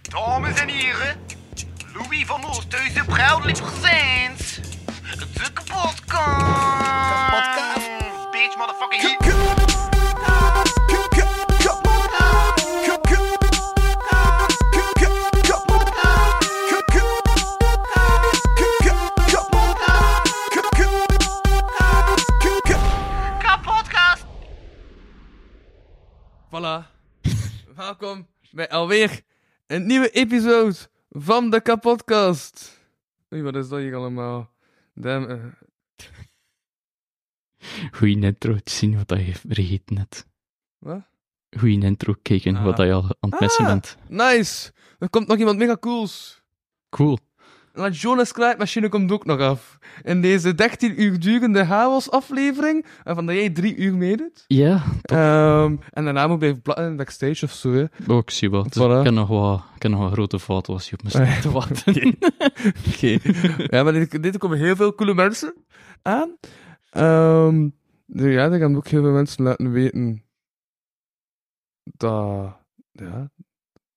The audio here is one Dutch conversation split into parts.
Dames en heren, Louis van Oosthuizen, proudly presents de kapotkast. Kapotkast. Bitch, motherfucking hit. Kapotkast. Voilà. Welkom bij alweer een nieuwe episode van de kapotcast. Oei, wat is dat hier allemaal? Damn, eh, Goeie intro te zien wat je vergeten hebt. wat? Goeie intro kijken wat je al aan het missen Ah. bent. Nice! Er komt nog iemand mega cools. Cool. La Jonas Krijtmachine komt ook nog af. In deze 13 uur durende chaos aflevering, waarvan dat jij 3 uur meedoet. Ja, Ehm, en daarna moet ik blijven plakken in de backstage of zo. hè. oh, ik zie wat. Voilà. Ik heb nog wat, ik heb nog wat grote fouten als je op mijn Ah, ja. stem te wachten. Oké. ja, maar dit, dit komen heel veel coole mensen aan. Ehm dus ja, dan gaan ook heel veel mensen laten weten dat, ja,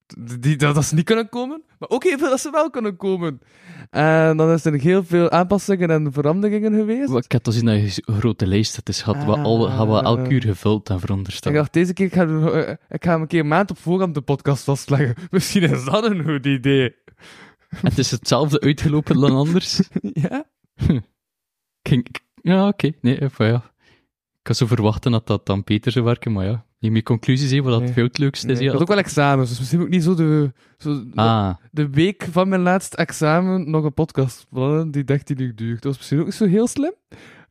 d- die, dat, dat ze niet kunnen komen, maar ook heel veel dat ze wel kunnen komen. En dan is er heel veel aanpassingen en veranderingen geweest. Maar Ik had al zien dat je een grote lijst had. Dus had we al, had we elk uur gevuld en veronderstel. Ah. Ik dacht, deze keer ik ga, eh, ik ga hem een keer een maand op voorhand de podcast vastleggen. Misschien is dat een goed idee. Het is hetzelfde uitgelopen dan anders. ja? Ik ging- ik- ja, oké. Nee, even, ja. Ik had zo verwachten dat dat dan beter zou werken, maar ja. Neem je conclusies even, wat Nee. het het leukste Nee, is. ik ja. had ook wel examens, dus misschien moet ik niet zo de... Zo, Ah, de week van mijn laatste examen nog een podcast plannen die 13 uur duurt. Dat was misschien ook niet zo heel slim.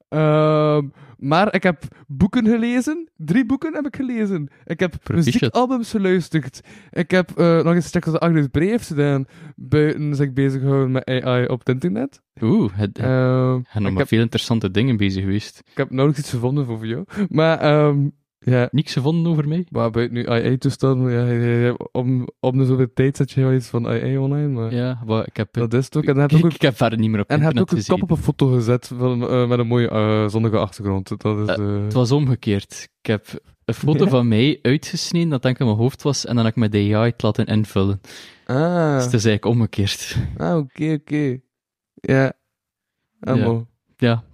Ehm, maar ik heb boeken gelezen. Drie boeken heb ik gelezen. Ik heb Proficiat. muziekalbums geluisterd. Ik heb eh, nog eens checken wat Agnes Bree heeft gedaan. Buiten zich bezig gehouden met AI op het internet. oeh. Het, het- Ehm, er zijn nog ik, maar heb, veel interessante dingen bezig geweest. ik heb nauwelijks iets gevonden voor jou. Maar ehm, ja, Niks gevonden over mij? maar buiten nu AI-toestanden, ja, ja, ja, om, om de zoveel tijd zet je wel iets van AI online. Maar Ja, maar ik heb, dat is het ook. En dan heb je ik, ook een ik heb verder niet meer op En hij hebt internet ook een gezien. kop op een foto gezet van, eh, met een mooie eh, zonnige achtergrond. Dat is, Eh, eh, Het was omgekeerd. Ik heb een foto van mij uitgesneden dat denk ik in mijn hoofd was en dan heb ik met de AI het laten invullen. Ah, Dus het is eigenlijk omgekeerd. ah, oké, oké. Ja. Ah, Ja. mooi. Ja.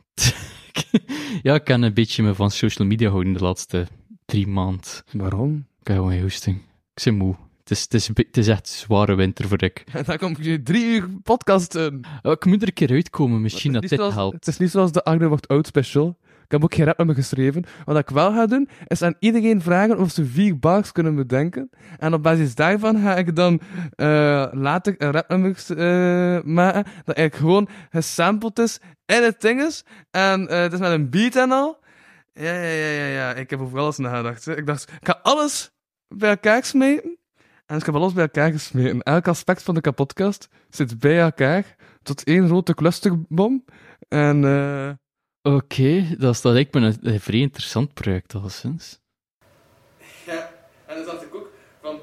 ja, ik kan een beetje me van social media houden de laatste drie maanden. Waarom? Ik heb gewoon geen hoesting. Ik ben moe. Het is, het, is, een be- het is echt zware winter voor ik. En dan kom je drie uur podcast eh, in. Oh, Ik moet er een keer uitkomen, misschien Het dat is dit niet zoals- helpt. Het is niet zoals de Agnew wordt oud special. Ik heb ook geen rap met me geschreven. Wat ik wel ga doen, is aan iedereen vragen of ze vier bars kunnen bedenken. En op basis daarvan ga ik dan eh, later een rap met me ges- eh, maken. Dat eigenlijk gewoon gesampled is in het ding is. En eh, het is met een beat en al. Ja, ja, ja, ja, ja. Ik heb over alles nagedacht. hè. Ik dacht, ik ga alles bij elkaar smeten. En ik heb alles bij elkaar gesmeten. Elk aspect van de kapotkast zit bij elkaar tot één grote clusterbom. En eh Oké, dat, is- dat lijkt me een, een vrij interessant project alleszins. Ja, en dan dacht ik ook van...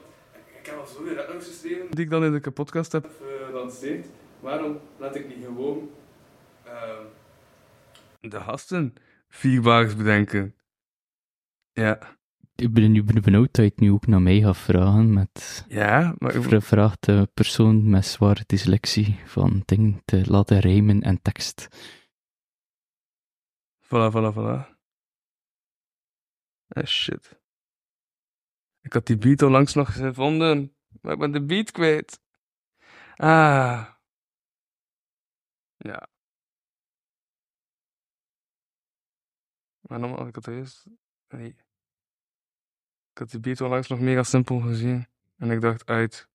Ik heb al zoveel rapnummers Die ik dan in de kapotkast heb gelanceerd. eh, Waarom laat ik niet gewoon... ehm, de gasten vier wagens bedenken? Ja. Ik ben nu benieuwd dat je het nu ook naar mij gaat vragen met... Ja, maar... ik- Vra- Vraagt de persoon met zware dyslexie van dingen te laten rijmen en tekst. Voilà, voilà, voilà. Ah, shit. Ik had die beat onlangs nog gevonden, maar ik ben de beat kwijt. Ah. Ja. Maar normaal, ik had eerst... Nee. Ik had die beat onlangs nog mega simpel gezien. En ik dacht, uit.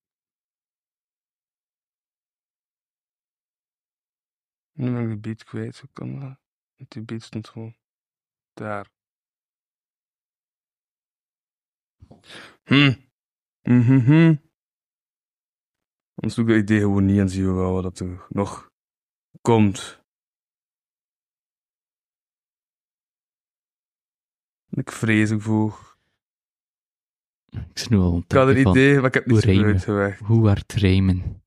Nu ben ik de beat kwijt, hoe kan dat? Want Die beat stond gewoon daar. Hm. Mhm. Onderzoek dat idee gewoon niet en zien we wel wat dat er nog komt. Ik vrees ervoor. Ik zit nu al aan het Ik had een denken van, idee, maar ik heb hoe niet zoveel rijmen? uitgewerkt. Hoe hard rijmen?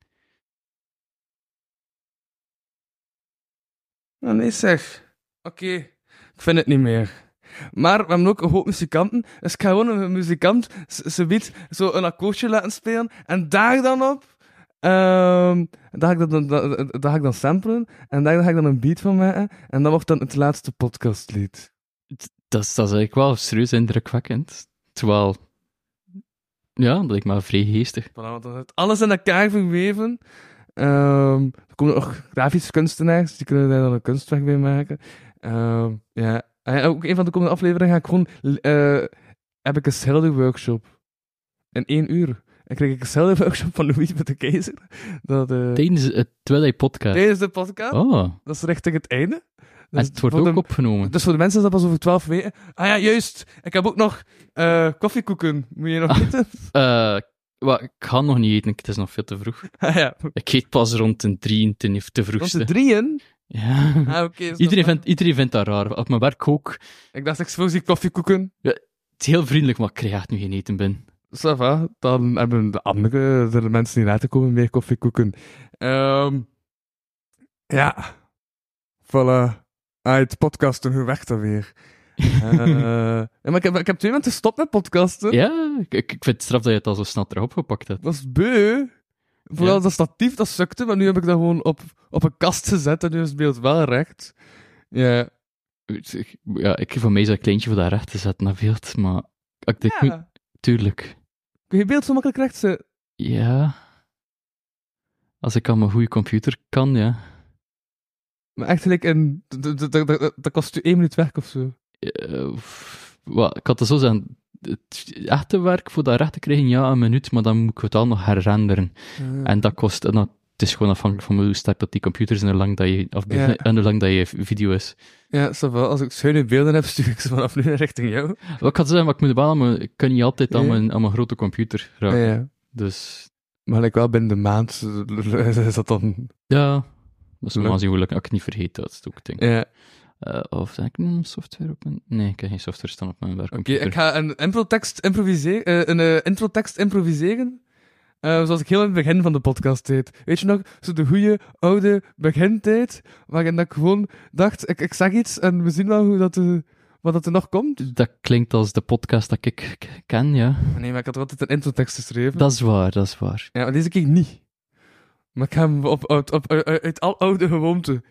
Ah, nee, zeg. Oké, ik vind het niet meer. Maar we hebben ook een hoop muzikanten. Dus ik ga gewoon een muzikant, ze weet, zo een akkoordje laten spelen. En daar dan op Ehm, daar, ga ik dat, dan- dat, dat- dat ga ik dan samplen. En daar ga ik dan een beat van maken. En dat wordt dan het laatste podcastlied. Dat is, dat is eigenlijk wel serieus indrukwekkend. Terwijl, ja, dat lijkt me wel vrij geestig. Voilà, want dan is alles in elkaar verweven. Ehm er komen ook grafische kunstenaars, dus die kunnen daar dan een kunstwerk mee maken. Ehm, ja. En ook een van de komende afleveringen ga ik gewoon... eh, heb ik een schilderworkshop. In één uur. En kreeg ik een schilderworkshop van Louis met de keizer. Dat, eh, Tijdens het Twilight podcast. tijdens de podcast. Oh, Dat is richting het einde. en Dus het wordt voor ook de- opgenomen. Dus voor de mensen is dat pas over 12 weken. Ah ja, juist. Ik heb ook nog eh, koffiekoeken. Moet je nog eten? Eh, wel, ik ga nog niet eten, het is nog veel te vroeg. ah ja. Ik eet pas rond een drie en ten heeft te Rond de vroegste. drieën? Ja. Ah, oké. is dat Iedereen, waar? vindt, iedereen vindt dat raar. Op mijn werk ook. Het Ik dacht, ik spoel die koffiekoeken. is heel vriendelijk, maar ik krijg het nu geen eten binnen. Ça va. Dan hebben de andere de mensen die later komen meer koffiekoeken. Ehm, ja. Voilà. Uit podcasten, hoe weg dan weer? Eh, ja, maar ik heb, ik heb twee mensen gestopt met podcasten. Ja, ik, ik vind het straf dat je het al zo snel erop gepakt hebt. Dat is beu. Vooral Ja. dat statief, dat sukte, maar nu heb ik dat gewoon op, op een kast gezet en nu is het beeld wel recht. Ja. Ik- Ja, ik, voor mij is dat kleintje voor daar recht te zetten, dat beeld. Maar ik denk, ja. tuurlijk. Kun je beeld zo makkelijk recht zetten? Ja. Als ik aan mijn goede computer kan, ja. Maar echt gelijk in... d- d- d- d- d- Dat kost u één minuut werk of zo. Eh, f- wat, ik had het zo zeggen. Het echte werk voor dat recht te krijgen, ja, een minuut, maar dan moet ik het al nog herrenderen. Ah, En dat kost... en dat- het is gewoon afhankelijk van hoe sterk dat die computers en hoe lang dat je, of, Ja. en hoe lang dat je video is. Ja, ça va. Als ik schöne beelden heb, stuur ik ze vanaf nu richting jou. Wat ik had zeggen, maar ik moet wel aan mijn, ik kan niet altijd aan Ja. mijn, aan mijn grote computer Ja. raken. ja. Dus Maar ik wel binnen de maand eh, is dat dan... ja, dat is Leuk. normaal zien hoe ik niet vergeet, dat is het ook ding. Ja. Eh, of zeg ik een software op mijn... Nee, ik heb geen software staan op mijn Oké, werkcomputer. ik ga een improtekst improviseren, eh, een eh, introtekst improviseren. Eh, zoals ik heel in het begin van de podcast deed. Weet je nog, zo de goede oude begintijd, waarin dat ik gewoon dacht, ik, ik zag iets en we zien wel hoe dat, eh, wat dat er nog komt. Dat klinkt als de podcast dat ik k- ken, ja. Ah, Nee, maar ik had er altijd een introtekst geschreven. Dat is waar, dat is waar. Ja, maar deze keer niet. Maar ik ga hem op, op, op, uit- uit al oude gewoonte.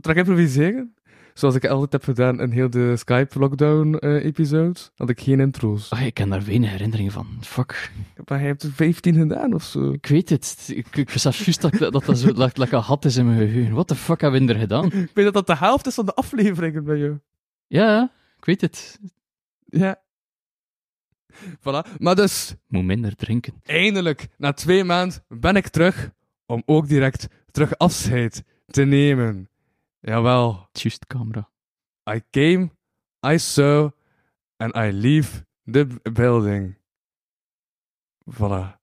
Terug improviseren, zoals ik altijd heb gedaan in heel de Skype-lockdown-episode, had ik geen intro's. Ah, ik ken daar weinig herinneringen van. Fuck. Maar hij heeft er 15 gedaan of zo. Ik weet het. Ik, ik besef juist dat dat, dat, dat zo dat, dat een gat is in mijn geheugen. What the fuck hebben we er gedaan? Ik weet dat dat de helft is van de afleveringen bij jou. Ja, ik weet het. Ja. Voilà. Maar dus, Moet minder drinken. eindelijk, na twee maanden, ben ik terug om ook direct terug afscheid te nemen. Jawel. Juist camera. I came, I saw, and I leave the b- building. Voilà.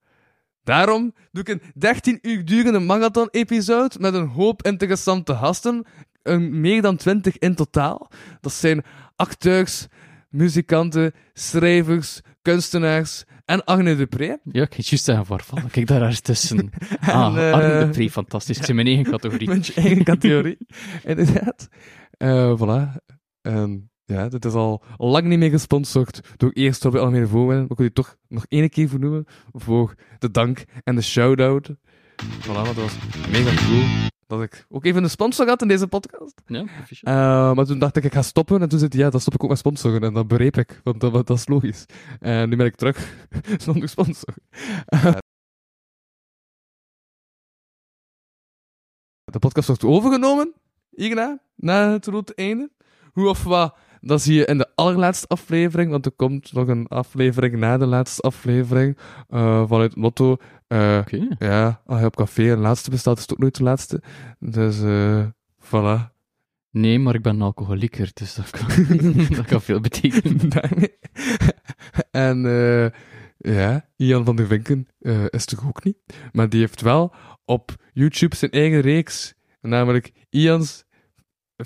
Daarom doe ik een 13 uur durende marathon-episode met een hoop interessante gasten. Een, meer dan 20 in totaal. Dat zijn acteurs, muzikanten, schrijvers, kunstenaars en Arne Dupré. Ja, ik ging juist zeggen waarvan. Kijk daar eens tussen. En, Ah, eh, Arne de Pre, fantastisch. Het is in mijn eigen categorie. Met je eigen categorie. Inderdaad. Eh voilà. En ja, dit is al lang niet meer gesponsord door eerst Robert Almere Voorwijn. Maar ik wil je toch nog één keer vernoemen voor de dank en de shout-out. Voilà, want dat was mega cool dat ik ook even een sponsor had in deze podcast. Ja, proficiat. Eh, maar toen dacht ik, ik ga stoppen. En toen zei hij, ja, dan stop ik ook met sponsoren. En dat bereep ik, want dat, dat is logisch. En nu ben ik terug zonder sponsor. De podcast wordt overgenomen, hierna, na het rood einde. Hoe of wat, dat zie je in de allerlaatste aflevering, want er komt nog een aflevering na de laatste aflevering eh, vanuit Lotto. Eh, Oké. ja, als je op café een laatste bestelt, is het ook nooit de laatste. Dus, eh voilà. Nee, maar ik ben een alcoholieker, dus dat kan, dat kan veel betekenen. Daarmee. en eh, ja, Ian van der Vinken eh, is toch ook niet. Maar die heeft wel op YouTube zijn eigen reeks. Namelijk Ian's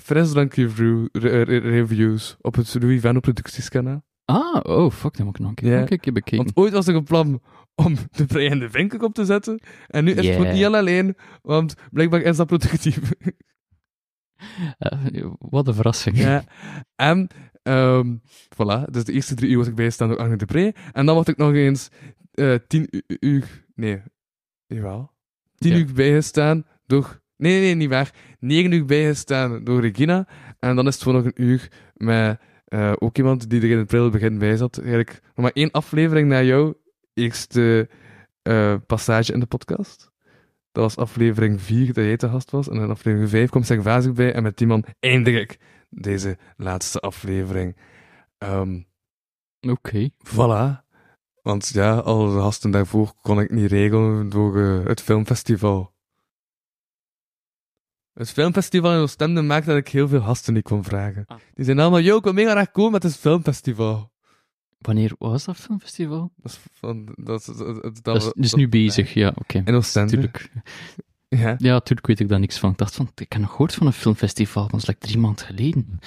frisdrank review- re- re- reviews op het Louis Vano productieskanaal. Ah, oh, fuck, dat moet ik nog een keer, Ja. nog een keer bekeken. Want ooit was er een plan om de Vrij en de Vinken op te zetten. En nu is het Yeah. voor Ian alleen, want blijkbaar is dat productief. Eh, wat een verrassing. Ja. En, ehm voilà, dus de eerste drie uur was ik bijgestaan door Arne de Pre. En dan word ik nog eens eh tien u- u- uur, nee, Jawel. Tien Ja. uur bijgestaan door... Nee, nee, niet waar. Negen uur bijgestaan door Regina. En dan is het voor nog een uur met eh, ook iemand die er in het pril begin bij zat. Eigenlijk nog maar één aflevering naar jouw eerste eh, passage in de podcast. Dat was aflevering 4 dat jij te gast was. En in aflevering 5 komt Servaas bij. En met die man eindig ik deze laatste aflevering. Ehm Oké. Voilà. Want ja, al de gasten daarvoor kon ik niet regelen door eh, het filmfestival. Het filmfestival in Oostende maakte dat ik heel veel gasten niet kon vragen. Ah. Die zijn allemaal, yo, ik wil mega graag komen met het filmfestival. Wanneer was dat filmfestival? Dat is, van, dat is, dat, dat- Dat is, eh, dat- is nu bezig, ja, oké. In Oostende, Tuurlijk. ja. Ja, tuurlijk weet ik daar niks van. Ik dacht van, ik heb nog gehoord van een filmfestival, maar dat is like drie maanden geleden.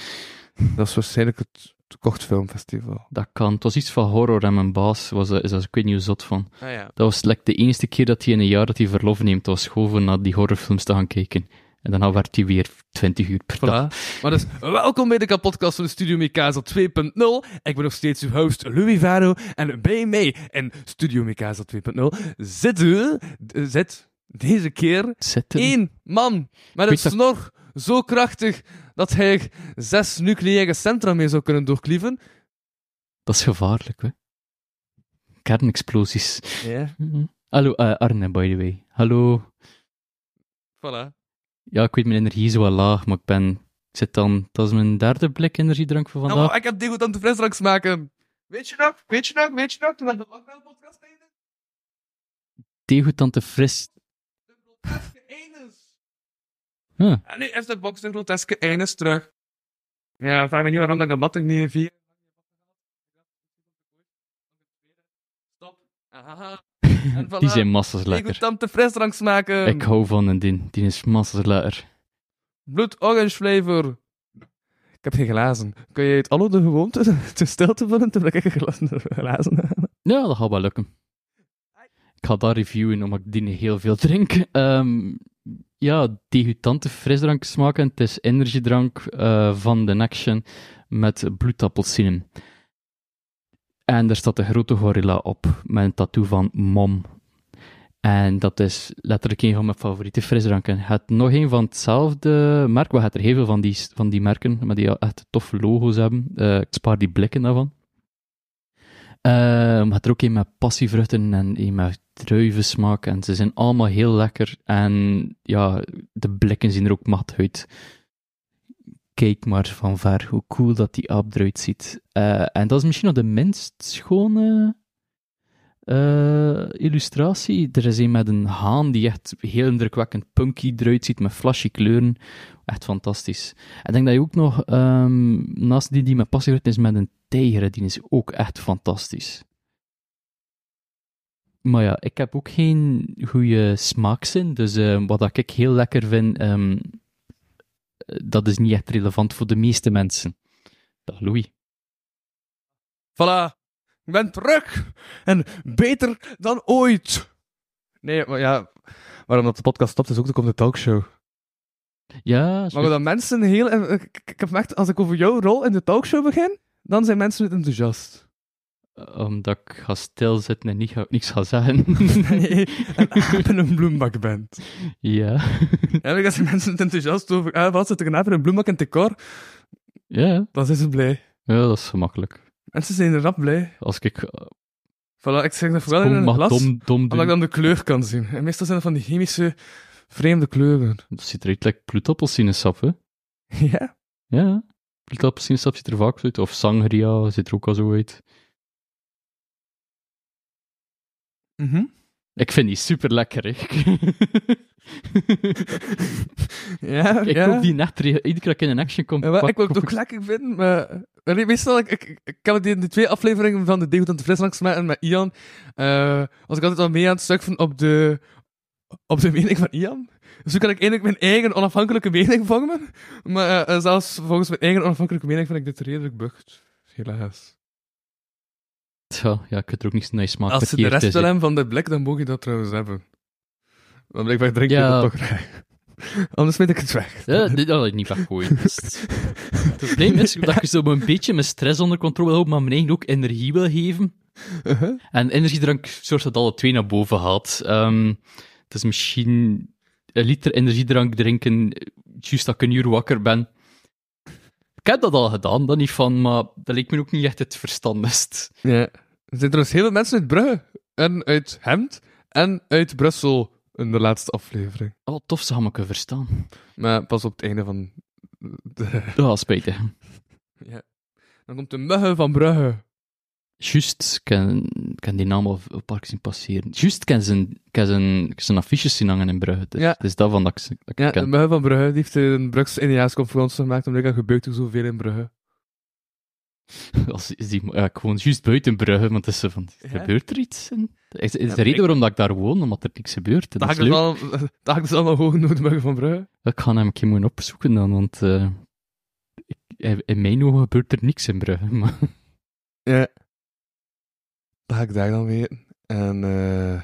Dat is waarschijnlijk het, het kort filmfestival. Dat kan. Het was iets van horror en mijn baas was, eh, is daar, ik weet niet hoe zot van. Ah ja. Dat was like, de enige keer dat hij in een jaar dat hij verlof neemt, was gewoon voor naar die horrorfilms te gaan kijken. En daarna werd hij weer 20 uur per dag. Voilà. Maar dus, welkom bij de kapotcast van de Studio Mikazel 2.0. Ik ben nog steeds uw host Louis Vano en bij mij in Studio Mikazel 2.0 zit, u, eh, zit deze keer Zitten. één man met een Weet dat- snor zo krachtig dat hij er zes nucleaire centra mee zou kunnen doorklieven. Dat is gevaarlijk, hè. Kernexplosies. Ja. Mhm. Hallo, eh, Arne, by the way. Hallo. Voilà. Ja, ik weet, mijn energie is wel laag, maar ik ben... Ik zit dan... Dat is mijn derde blik energiedrank voor vandaag. Oh, ik heb degoutante frisdranks maken. Weet je nog? Weet je nog? Weet je nog? Toen we de lockdown podcast deden? Degutante fris... De groteske eindes. Huh. En nu is de box de groteske eindes terug. Ja, vraag me niet waarom dat gematting niet in vier. Stop. Aha. En Die voilà. zijn massas lekker. Degoutante frisdranks maken. Ik hou van een din. Die is massas lekker. Bloed orange flavor. Ik heb geen glazen. Kun je het allo de gewoonte te stil te vullen terwijl ik glazen, glazen heb? Ja, dat gaat wel lukken. Ik ga dat reviewen, omdat ik die heel veel drink. Ehm, ja, degutante frisdrank smaken. Het is energiedrank eh, van de Action met bloedappelsinen. En er staat een grote gorilla op met een tattoo van mom. En dat is letterlijk een van mijn favoriete frisdranken. Het nog een van hetzelfde merk. We hebben er heel veel van die, van die merken, maar die echt toffe logo's hebben. Eh, ik spaar die blikken daarvan. Ehm, maar er ook een met passievruchten en een met druivensmaak. En ze zijn allemaal heel lekker. En ja, de blikken zien er ook mat uit. Kijk maar van ver hoe cool dat die app eruit ziet. Eh, en dat is misschien nog de minst schone eh, illustratie. Er is een met een haan die echt heel indrukwekkend punky eruit ziet met flashy kleuren. Echt fantastisch. Ik denk dat je ook nog, ehm, naast die die met passievruchten is, met een tijger, die is ook echt fantastisch. Maar ja, ik heb ook geen goede smaakzin. Dus eh, wat ik heel lekker vind, ehm, dat is niet echt relevant voor de meeste mensen. Dag Louis. Voilà. Ik ben terug. En beter dan ooit. Nee, maar ja... Waarom dat de podcast stopt, is ook, dan komt de talkshow. Ja, Maar dat mensen heel... en Ik, ik- ik heb gemerkt, als ik over jouw rol in de talkshow begin, dan zijn mensen het enthousiast. omdat ik ga stilzitten en niet ga, niks ga zeggen. Nee. En aap in een bloembak bent. ja. Ja, maar als zijn mensen het enthousiast over... Ah, wat zit er een aap in een bloembak en decor? ja, Dan zijn ze blij. ja, dat is gemakkelijk. Mensen zijn er rap blij. Als ik eh, Voilà, ik zeg dat vooral in gewoon een mag glas, dom, dom omdat doen, ik dan de kleur kan zien. En meestal zijn dat van die chemische, vreemde kleuren. dat ziet eruit like bloedappelsinensap, hè. Ja? Ja, bloedappelsiensap ziet er vaak zo uit. Of sangria ziet er ook al zo uit. Mhm. Ik vind die super lekker, hè. Ja, ik ja. koop die net re- iedere keer dat ik in een action kom. Ja, wel, pak- ik wil het koop ook lekker vinden, maar... maar nee, meestal, ik, ik, ik heb het in de twee afleveringen van de Degoutante Fles langs maken met Ian. eh was ik altijd al mee aan het surfen op de, op de mening van Ian. Dus zo kan ik eindelijk mijn eigen onafhankelijke mening vormen. Maar eh, eh, zelfs volgens mijn eigen onafhankelijke mening vind ik dit redelijk bucht. Helaas. Ja, ja, ik kan er ook niks nice maken. Als ze de rest willen hebben van de blik, dan mogen je dat trouwens hebben. Want blijkbaar drink je Ja. dat toch graag. Anders weet ik het weg. Ja, dit had ik niet weggooien. Dat is- Het probleem is dat ik zo een beetje mijn stress onder controle hou, maar mijn eigen ook energie wil geven. Uh-huh. En energiedrank zorgt dat alle twee naar boven haalt. Ehm, het is misschien een liter energiedrank drinken, eh, juist dat ik een uur wakker ben. Ik heb dat al gedaan, dat niet van, maar dat leek me ook niet echt het verstandigst. Ja. Er zijn trouwens heel veel mensen uit Brugge. En uit Hemd. En uit Brussel in de laatste aflevering. Ah, Wat tof, ze gaan me kunnen verstaan. Maar pas op het einde van... De... Ja, spijtig. Ja. Dan komt de muggen van Brugge. Juist, ik ken, ik ken die naam al een paar keer zien passeren. Juist, ik ken zijn, ik ken zijn, zijn affiches zien hangen in Brugge. Dus Ja. Het is daarvan dat ik ze dat ik Ja, ken. de muggen van Brugge die heeft een Brugse Indiaasconferentie gemaakt. Omdat er gebeurt er zoveel in Brugge. Als, is die, ja, ik woon juist buiten Brugge, want het is zo van, Ja. gebeurt er iets? En, is is maar de ik- reden waarom dat ik daar woon, omdat er niks gebeurt. en Dat Dat ga is ik dus leuk. al- dat ga ik dus allemaal hoog noemen, de muggen van Brugge. Ik ga hem een keer moeten opzoeken dan, want eh, ik- in mijn ogen gebeurt er niks in Brugge. Maar, Dat ga ik daar dan weten. En eh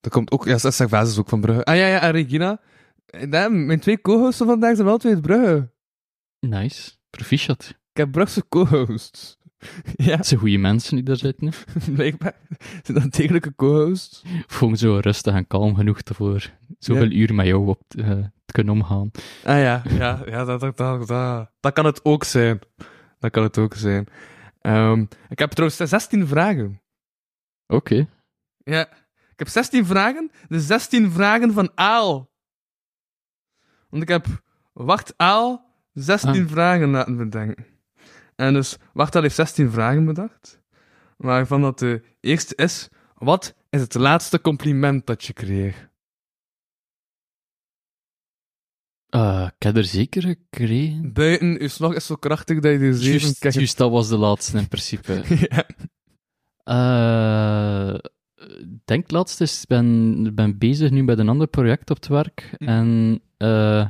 dat komt ook... Ja, Servaas is ook van Brugge. Ah ja, ja, en Regina. Eh, daar- mijn twee co-hosts van vandaag zijn wel twee uit Brugge. nice. Proficiat. Ik heb Brugse co-hosts. ja, Het zijn goede mensen die daar zitten. hè. blijkbaar. Zijn dat degelijke co-hosts? Gewoon zo rustig en kalm genoeg voor zoveel uur met jou op te, eh, te kunnen omgaan. Ah ja, ja, ja dat, dat, dat, dat, dat kan het ook zijn. Dat kan het ook zijn. Ehm, ik heb trouwens 16 vragen. Oké. Ja, ik heb 16 vragen. De 16 vragen van Aal. Want ik heb Wacht Aal 16 vragen laten bedenken. En dus Wacht Aal heeft 16 vragen bedacht. Waarvan dat de eerste is... Wat is het laatste compliment dat je kreeg? Eh, ik heb er zeker gekregen. Buiten, uw slag is zo krachtig dat je de zeven Juist, krijgt. juist, dat was de laatste in principe. Ja. Eh, Ik denk laatst is, ik ben, ben bezig nu met een ander project op het werk. Hm. En eh,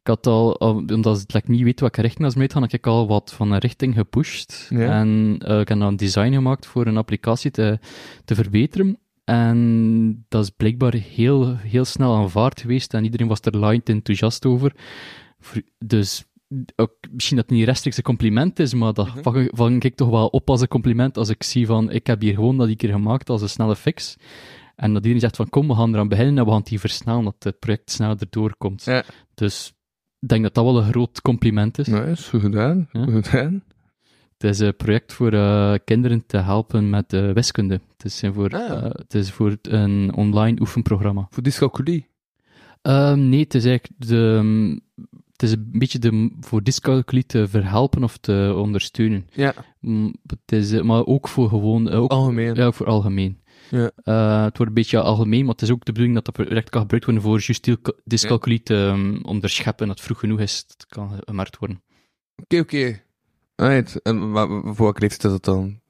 ik had al, om- omdat ik like, niet weet welke richting als mee gaan, had ik al wat van een richting gepusht. Ja. En eh, ik heb dan een design gemaakt voor een applicatie te, te verbeteren. En dat is blijkbaar heel, heel snel aanvaard geweest en iedereen was er lined enthousiast over. Voor- Dus ook, misschien dat het niet rechtstreeks een compliment is, maar dat Mhm. vang, vang ik toch wel op als een compliment als ik zie van, ik heb hier gewoon dat keer gemaakt als een snelle fix. En dat iedereen zegt van, kom, we gaan eraan beginnen en we gaan het hier versnellen, dat het project sneller doorkomt. Ja. Dus ik denk dat dat wel een groot compliment is. Nice, goed gedaan. Ja. Goed gedaan. Het is een project voor eh, kinderen te helpen met eh, wiskunde. Het is voor, Ah. eh, het is voor een online oefenprogramma. Voor dyscalculie. Ehm, nee, het is eigenlijk de, ehm, het is een beetje de, voor dyscalculie te verhelpen of te ondersteunen. Ja, Mm, Het is, eh, maar ook voor gewoon, eh, ook, algemeen. ja, voor algemeen. Ja. Eh, het wordt een beetje algemeen, maar het is ook de bedoeling dat dat project kan gebruikt worden voor juist die cal- dyscalculie te ehm, onderscheppen. En dat vroeg genoeg is, dat kan gemerkt worden. Oké, oké. Right. En wa- wa- voor welke leeftijd had dat dan?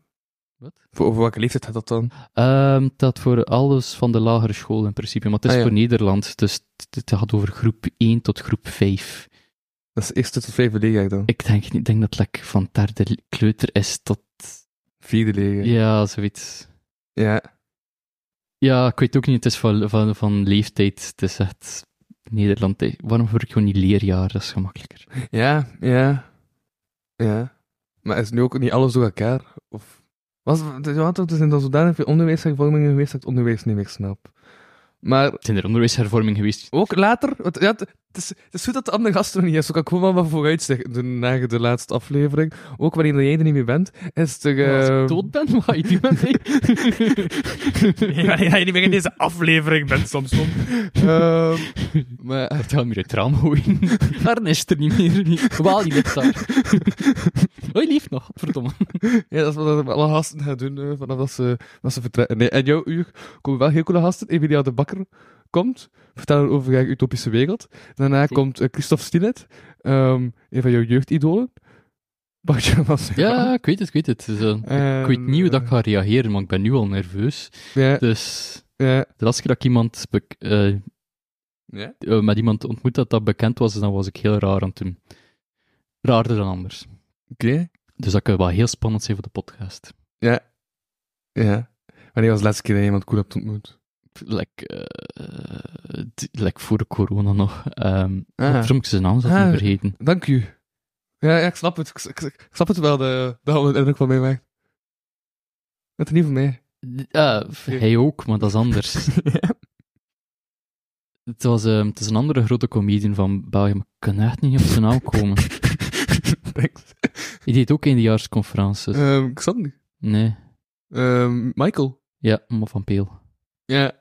Wat? Voor, voor welke leeftijd had dat dan? Ehm, dat voor alles van de lagere school in principe, maar het is Ah, ja. voor Nederland. Dus het- het gaat over groep 1 tot groep 5. Dat is eerste tot vijfde leerjaar dan? Ik denk, niet- ik denk dat het like, van derde le- kleuter is tot... Vierde leerjaar. Ja. Ja, zoiets. Ja, ik weet ook niet, het is van, van, van leeftijd. Het is echt Nederland. hè. Waarom gebruik ik gewoon niet leerjaar? Dat is gemakkelijker. Ja, ja. Ja. Maar is nu ook niet alles door elkaar? Of... Was, ja, er zijn dan zodanig veel onderwijshervormingen geweest dat ik het onderwijs niet meer snap. Maar Het is er onderwijshervorming geweest. ook later... want ja, het, het is, het is goed dat de andere gast er niet is, ook al gewoon wel wat vooruitzicht doen na de laatste aflevering. Ook wanneer jij er niet meer bent, is er... Maar eh, Als ik dood ben, wat ga je doen met mij? je niet meer in deze aflevering bent, soms. Ehm, maar Ik ga hem hier uit het raam gooien. Arne is er niet meer. Waal, die ligt daar. Hoi, lief nog. Verdomme. ja, dat is wat alle gasten gaan doen eh, vanaf dat ze, dat ze vertrekken. Nee, en jouw uur komen wel heel coole gasten. Emilia de Bakker komt, vertellen over haar utopische wereld. Daarna komt eh, Christophe Stilet, ehm, een van jouw jeugdidolen. Bartje van Zeeland. Ja, ik weet het, ik weet het. Dus, eh, ik weet niet hoe dat ik ga reageren, want ik ben nu al nerveus. Ehm, Ja, Dus ja, de laatste keer dat ik iemand bek- eh, ja. eh, met iemand ontmoet dat dat bekend was, dus dan was ik heel raar aan het doen. Raarder dan anders. Oké. Dus dat kan wel heel spannend zijn voor de podcast. Ja. Wanneer was de laatste keer dat je iemand cool hebt ontmoet? Like, eh, eh, d- like voor de corona nog. Ehm Ah. Waarom ik zijn naam zat Ah. niet vergeten. Dank u. Ja, ja, ik snap het. Ik, ik- ik snap het wel, de, de indruk van mij maakt. Dat is niet voor mij. Ja, ah, hij ook, maar dat is anders. het, was, ehm, het is een andere grote comedian van België, maar ik kan echt niet op zijn naam komen. Thanks. Hij deed ook eendejaarsconferences. Ehm, ik zat niet. Nee. Ehm, Michael. Ja, maar van Peel. Ja.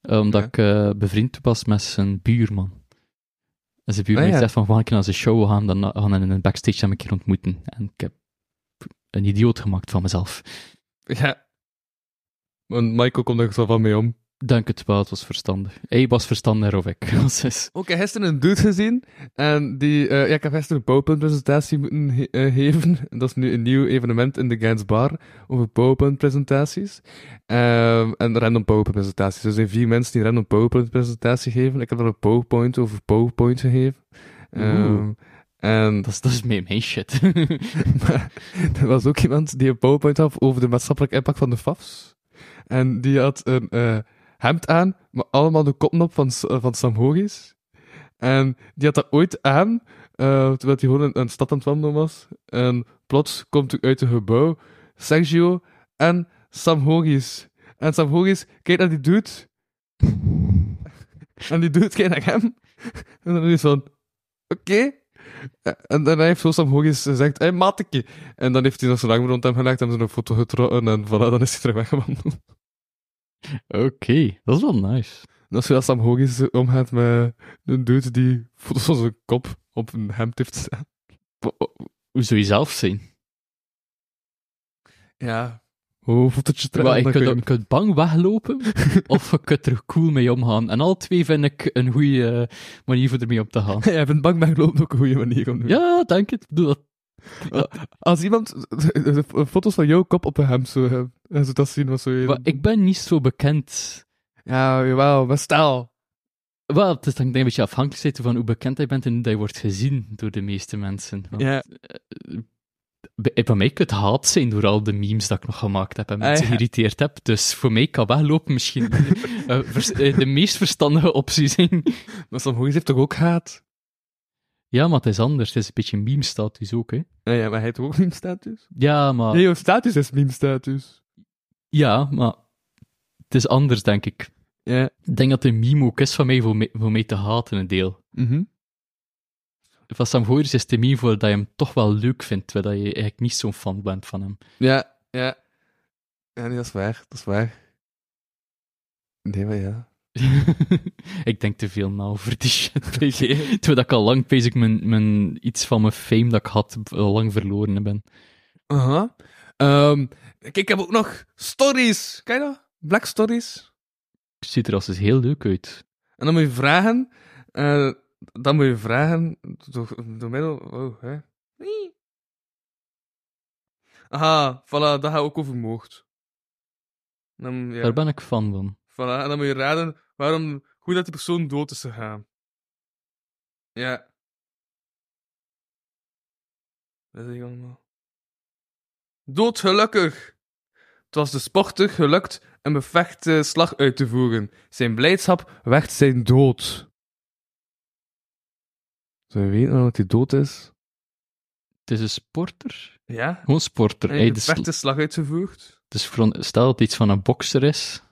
Eh, omdat Ja. ik eh, bevriend was met zijn buurman. En zijn buurman Ah, ja. heeft zegt van, van, ik naar zijn show gaan, dan gaan we in een backstage hem een keer ontmoeten. En ik heb een idioot gemaakt van mezelf. Ja. Want Michael komt er zo van mee om. Dank het wel, het was verstandig. Hij was verstandiger of ik. was dus- Ook ik heb gisteren een dude gezien. En die, eh, ja, ik heb gisteren een PowerPoint-presentatie moeten he- eh, geven. En Dat is nu een nieuw evenement in de Gens Bar over PowerPoint-presentaties. Ehm, en random PowerPoint-presentaties. Dus er zijn vier mensen die een random PowerPoint-presentatie geven. Ik heb er een PowerPoint over PowerPoint gegeven. Ehm, Oeh. en Dat is, dat is mijn, mijn shit. Maar er was ook iemand die een powerpoint had over de maatschappelijke impact van de FAF's. En die had een eh, hemd aan, maar allemaal de koppen op van, S- eh, van Sam Hogis. En die had dat ooit aan, eh, terwijl hij gewoon een, een stad aan het wandelen was. En plots komt er uit een gebouw Sergio en Sam Hogis. En Sam Hogis kijkt naar die dude. en die dude kijkt naar hem. En dan is hij van... Oké. En dan heeft zo Sam Hogis gezegd, hé, hey, mateke. En dan heeft hij nog zijn arm rond hem gelegd, hebben ze een foto getrokken en voilà, dan is hij terug weggewandeld. Oké, dat is wel nice. Dat is hoe dat Sam Hogis eh, omgaat met een dude die foto's van zijn kop op een hemd heeft staan. Hoe zou je zelf zijn? Ja. Hoe fotootje terug? Wel, je, dan kunt, kun je kunt bang weglopen, of je kunt er cool mee omgaan. En alle twee vind ik een goede eh, manier voor ermee om te gaan. je... Jij bent bang bij loopt ook een goede manier om te doen. Ja, dank het. Doe dat. Als iemand eh, eh, foto's van jouw kop op een hemd zou hebben, en zou dat zien, wat zou je... Maar ik ben niet zo bekend. Ja, jawel, maar stel. Wel, het is dan een beetje afhankelijk zitten van hoe bekend hij bent en hoe dat je wordt gezien door de meeste mensen. Want Ja. bij, bij mij kan het haat zijn door al de memes dat ik nog gemaakt heb en mensen Ah, ja. geïrriteerd heb. Dus voor mij kan weglopen misschien eh, vers- eh, de meest verstandige optie zijn. Maar Sam Hogis heeft toch ook haat? Ja, maar het is anders. Het is een beetje meme-status ook, hè. Eh, Ja, ja, maar hij heeft ook meme-status. Ja, maar... Nee, jouw status is meme-status. Ja, maar het is anders, denk ik. Ja. Ik denk dat de meme ook is van mij voor mij, voor mij te haten, een deel. Mhm. Van Sam Gooyers is de meme voor dat je hem toch wel leuk vindt, terwijl dat je eigenlijk niet zo'n fan bent van hem. Ja, ja. Ja, nee, dat is waar. Dat is waar. Nee, maar ja. ik denk te veel na over die shit. bezig. Terwijl dat ik al lang bezig mijn, mijn, iets van mijn fame dat ik had, al lang verloren ben. Aha. Ehm, kijk, ik heb ook nog stories. Kijk dat? Black stories. Ziet er als eens heel leuk uit. En dan moet je vragen. eh, dan moet je vragen. Door, door middel. Oh, hè. Wee. Aha, voilà, dat gaat ook over moord. Dan, ja, Daar ben ik fan van. voilà, en dan moet je raden waarom, hoe dat die persoon dood is gegaan. Ja. Dat zeg ik allemaal. nou? Doodgelukkig! Het was de sporter gelukt een bevechte slag uit te voeren. Zijn blijdschap werd zijn dood. Zou je weten waarom dat hij dood is? Het is een sporter. Ja? Gewoon sporter. Hij Hey, heeft dus, een bevechte slag uitgevoerd. dus voor een- stel dat het iets van een bokser is.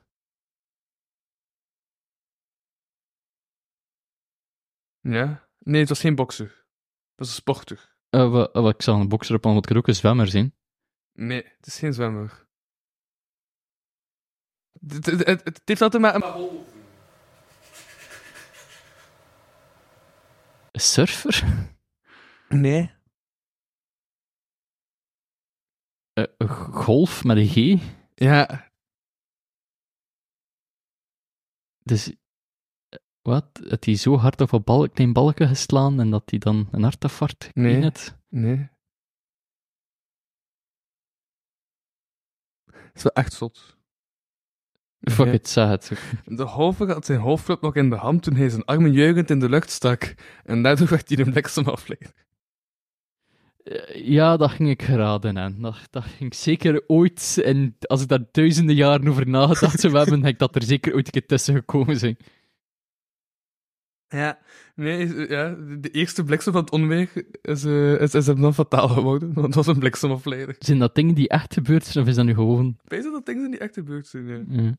Ja? Nee, het was geen bokser. Het was een sporter. Eh, wa- eh, wa- ik zal een bokser op, want het kan ook een zwemmer zijn. Nee, het is geen zwemmer. Het, het, het, het heeft altijd maar een... Een surfer? Nee. Eh, een golf met een G? Ja. Dus, eh, wat? Dat hij zo hard op een bal, klein balken geslaan en dat hij dan een hartafart Nee. in het? Nee. Het is wel echt zot. Fuck Ja. it, zeg het. De hover had zijn hoofdclub nog in de hand toen hij zijn armen jeugend in de lucht stak. En daardoor werd hij een bliksem afleid. Eh, Ja, dat ging ik geraden aan. Dat, dat ging ik zeker ooit, en als ik daar duizenden jaren over nagedacht zou hebben, had ik dat er zeker ooit een keer tussen gekomen zijn. Ja, nee, is- eh, ja, de- de eerste bliksem van het onweer is, eh, is, is hem dan fataal geworden, want het was een bliksemafleider. Zijn dat dingen die echt gebeurd zijn, of is dat nu gewoon Ik Weet je dat dingen in die echte buurt zijn, ja. eh,